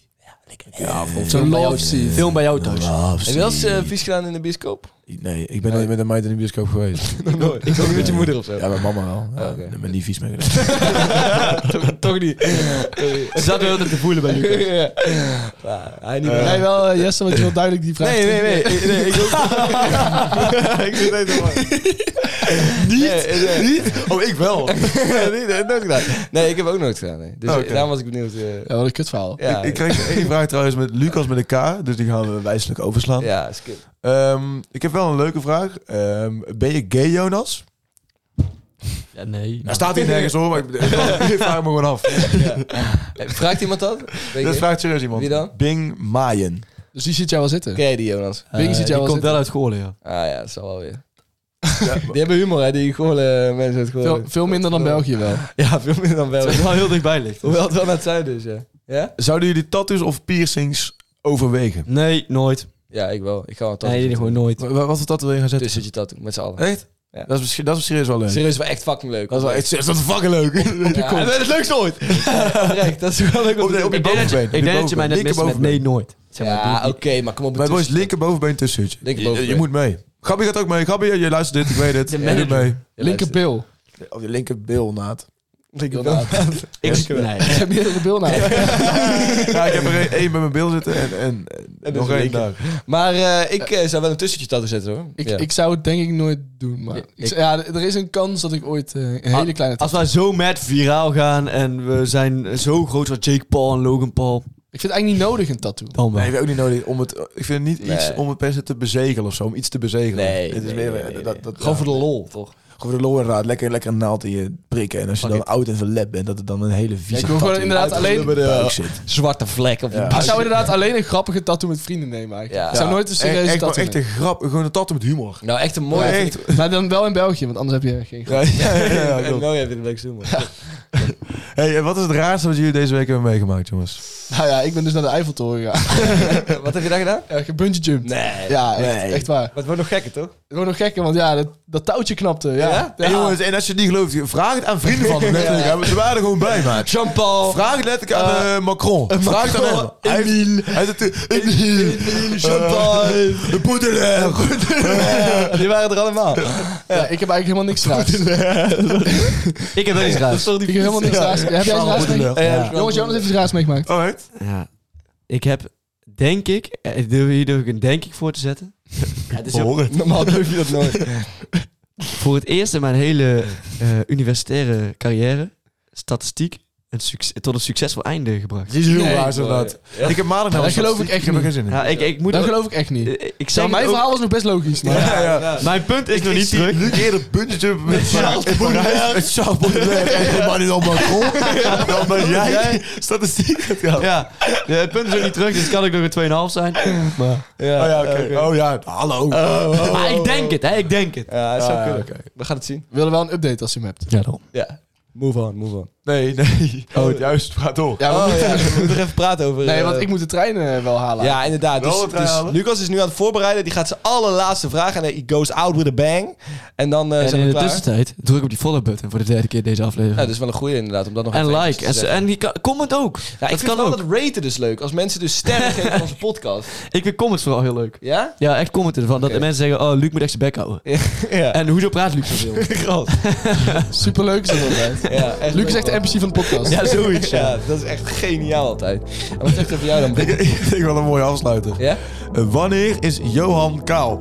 S3: ah,
S4: Ja, volgens
S5: Zo'n love scene.
S7: Film bij jou thuis.
S3: Heb je wel eens eh, vies gedaan in de bioscoop?
S4: Nee, ik ben nooit met een meid in de bioscoop geweest.
S3: Nooit. Ik ook niet met je moeder of zo.
S4: Ja, met mama wel. Ja,
S3: oké.
S4: Ik ben niet vies mee gedaan.
S3: toch, toch niet.
S7: Ze zaten wel te voelen bij Lucas.
S3: Ja. Ja, hij niet.
S5: Nee, wel, eh, Jesse, want je wil duidelijk die vraag.
S3: Nee, nee, nee. Ik- nee, ik ook ik zit helemaal... Niet? Niet?
S4: Oh, ik wel.
S3: Nee, nooit gedaan. Nee, ik heb ook nooit gedaan. Nee. Dus
S4: Oké.
S3: eh, daarom was ik benieuwd. eh,
S5: Ja, wat een kut verhaal.
S3: ja,
S4: Ik kreeg één vraag trouwens met Lucas met een K, dus die gaan we wijselijk overslaan.
S3: ja, skip.
S4: Ehm, ik heb wel een leuke vraag. Ehm, ben je gay, Jonas?
S7: Nou. Ja, nee.
S4: Nou, staat hier nergens hoor, maar ik, ik vraag me gewoon af.
S3: Eh, Vraagt iemand dat? Weet
S4: Dat
S3: je?
S4: vraagt serieus iemand.
S3: Wie dan?
S4: Bing Maaien.
S5: Dus die ziet jou wel zitten.
S3: Ken jij die, Jonas?
S5: Bing ziet
S7: die
S5: jou wel
S7: komt
S5: zitten.
S7: Eh, wel uit Goorlen, ja.
S3: Ah ja, dat zal wel weer. Die hebben humor, hè? Die Goorlen mensen uit Goorlen.
S5: Veel, veel minder dan België wel.
S3: Ja, veel minder dan
S7: Dat
S3: België.
S7: het wel heel dichtbij ligt.
S3: Hoewel het wel naar het zuiden is, ja. Ja?
S4: Zouden jullie tattoos of piercings overwegen?
S7: Nee, nooit.
S3: Ja, ik wel. Ik ga wel toch.
S7: Nee, gewoon nooit.
S4: Wa- wa- Wat voor tattoo wil je gaan zetten?
S3: Dus zit je dat met z'n allen.
S4: Echt?
S7: Dus-
S3: Ja.
S4: Dat, is, misschien- dat is serieus wel leuk.
S3: Serieus, wel echt fucking leuk.
S4: Dat is wel echt serieus, dat is fucking leuk. Op je kont.
S3: het leukste ooit. Terecht, dat is wel leuk. om
S4: Op
S3: te
S4: de-
S3: doen.
S4: op je
S7: Ik denk dat
S4: bovenbeen.
S7: je, ik denk dat je mij net mist met nee, nooit. Zeg maar,
S3: Ja,
S7: die-
S3: oké, maar kom op.
S4: Mijn
S3: het
S4: boys,
S3: is-
S4: linkerbovenbeen tussen.
S3: Linkerbovenbeen.
S4: Je, je moet mee. Gabby gaat ook mee. Gabby, je, je luistert dit, ik weet het.
S7: De
S4: Je doet
S7: manager.
S4: mee.
S3: Ja,
S5: Linker
S3: luister.
S5: bil.
S4: Of je linkerbil, Naad.
S7: ik, nee.
S5: Ik heb meerdere bil nou.
S4: Ja, ik heb er één- één met mijn bil zitten en, en,
S3: En
S4: nog
S3: dus
S4: één
S3: linker.
S4: daar.
S3: Maar eh, ik eh, zou wel een tussentje tattoo zetten hoor.
S5: Ik,
S3: Ja.
S5: ik zou het denk ik nooit doen, maar...
S3: Ja,
S5: ik-
S3: ik-
S5: ja, er is een kans dat ik ooit eh, een hele kleine...
S7: Als wij zo mad viraal gaan en we zijn zo groot als Jake Paul en Logan Paul,
S5: Ik vind het eigenlijk niet nodig, een tattoo.
S7: dan wel.
S4: Nee, heb je ook niet nodig om het... Ik vind het niet iets
S3: Nee.
S4: om het per se te bezegelen of zo. Om iets te bezegelen.
S3: Nee,
S4: Het is
S3: nee,
S4: meer...
S3: nee, nee,
S4: eh, dat,
S3: nee.
S4: dat,
S3: eh, Gewoon
S4: ja.
S3: voor de lol, toch?
S4: Gewoon voor de lol inderdaad. Lekker, lekker een naald in je prikken. En als je dan oud en verlept bent, dat het dan een hele vieze
S5: ik wil gewoon
S4: tattoo
S5: inderdaad
S4: uit de
S5: alleen-
S4: buik zit.
S3: Zwarte vlek op je
S4: Ja.
S5: Ik
S3: buik.
S5: zou inderdaad alleen een grappige tattoo met vrienden nemen eigenlijk.
S3: Ja.
S5: Ik zou
S4: Ja.
S5: nooit een
S4: Echt-
S5: serieuze
S4: echt,
S5: tattoo
S4: Echt een grap. Gewoon een tattoo met humor.
S3: Nou, echt een mooie.
S4: Ja,
S3: vind
S4: echt.
S3: ik-
S5: nemen. Maar dan wel in België, want anders heb je geen...
S4: Ja, ja, ja, ja,
S3: en
S4: klopt.
S3: nou heb je de leukste humor.
S4: hey, en wat is het raarste wat jullie deze week hebben meegemaakt, jongens?
S5: Nou ja, ik ben dus naar de Eiffeltoren gegaan.
S3: Wat heb je daar gedaan?
S5: Ja, ik heb bungee jumped.
S3: Nee.
S5: Ja, echt,
S4: Nee.
S5: echt waar.
S3: Wat wordt nog gekker, toch?
S5: Het wordt nog gekker, want ja, dat, dat touwtje knapte. Ja,
S3: Ja?
S5: ja?
S4: En jongens, en als je het niet gelooft, vraag het aan vrienden van hem. letterlijk. Hij- Ze waren er gewoon bij, maat.
S3: Jean-Paul.
S4: Vraag het letterlijk aan eh, Macron. Vraag het aan hem. Hij heeft- Hij zit Emile.
S3: Jean-Paul.
S4: De eh, Poedelin.
S3: Die waren er allemaal.
S5: Ja, ik heb eigenlijk helemaal niks raars.
S7: Ik heb wel iets raars.
S5: Ik heb helemaal niks raars. Heb jij iets raars meegemaakt?
S3: Ja.
S5: Jongens, Jonas heeft iets raars meegemaakt.
S4: Oh, echt?
S7: Ja. Ik heb, denk ik, eh, durf- hier durf ik een denk ik voor te zetten. Ja, het is heel-
S4: Hoor het.
S3: Normaal durf je dat nooit.
S7: voor het eerst in mijn hele eh, universitaire carrière, statistiek, een succes, tot een succesvol einde gebracht.
S4: Die is heel
S5: Nee,
S4: waar, zo dat. Ik heb
S5: Ja,
S4: maandag nou
S5: dat geloof ik echt
S4: Ik heb er geen
S5: niet.
S4: zin in.
S7: Ja, ik, ik moet
S5: Dat
S7: ook- eh,
S5: geloof ik echt niet.
S7: ik- ik zeg
S5: Nou, mijn
S7: het ook- eh,
S5: verhaal was nog best logisch. Maar
S4: Ja, ja.
S7: Mijn punt is nog niet terug.
S4: Nu eerder bungeejumpen met Charles Baudelaire. Met Charles Baudelaire en Emmanuel Macron. Dan dat jij statistiek gaat gaan.
S7: Ja, Ja, het punt is nog niet terug, dus het kan ik nog een 2,5 zijn.
S4: Oh ja, oké. Oh ja, hallo.
S7: Maar ik denk het, hè, ik denk het.
S3: Ja, dat zou
S4: Ah, ja,
S3: kunnen. We gaan het zien.
S5: we willen wel een update als je hem hebt.
S7: Ja, dan.
S3: Ja. Move on, move on.
S4: Nee, nee. Oh, juist. Ga door.
S5: Ja, we
S3: Oh,
S5: moeten-
S3: ja, we moeten er even praten over...
S5: Nee,
S3: eh,
S5: want ik moet de trein eh, wel halen.
S3: Ja, inderdaad.
S4: Wel
S3: Dus,
S4: wat herhalen.
S3: dus Lucas is nu aan het voorbereiden. Die gaat zijn allerlaatste vraag en hij goes out with a bang. En dan eh,
S7: En
S3: zijn
S7: in
S3: we
S7: de
S3: klaar.
S7: tussentijd druk op die follow button voor de derde keer deze
S3: Ja,
S7: aflevering.
S3: dat is wel een goede inderdaad. Om dat nog even
S7: en
S3: eventjes
S7: like.
S3: te
S7: En,
S3: zeggen.
S7: en die kan- comment ook.
S3: Ja, ik
S7: dat
S3: vind
S7: kan
S3: wel
S7: ook.
S3: dat raten dus leuk. Als mensen dus sterren geven aan onze podcast.
S7: Ik vind comments vooral heel leuk.
S3: Ja?
S7: Ja, echt commenten ervan. Dat
S3: Oké.
S7: mensen zeggen, oh, Luc moet echt zijn bek houden.
S3: Ja.
S7: En hoezo praat Luc zoveel?
S5: Superleuk is dat altijd.
S3: ja echt
S5: Luc is
S3: leuk.
S5: echt de MC van de podcast.
S3: Ja, zoiets. Ja, dat is echt geniaal altijd. En wat zegt er voor jou dan? Bram?
S4: Ik vind wel een mooie afsluiter.
S3: Ja?
S4: Eh, Wanneer is Johan kaal?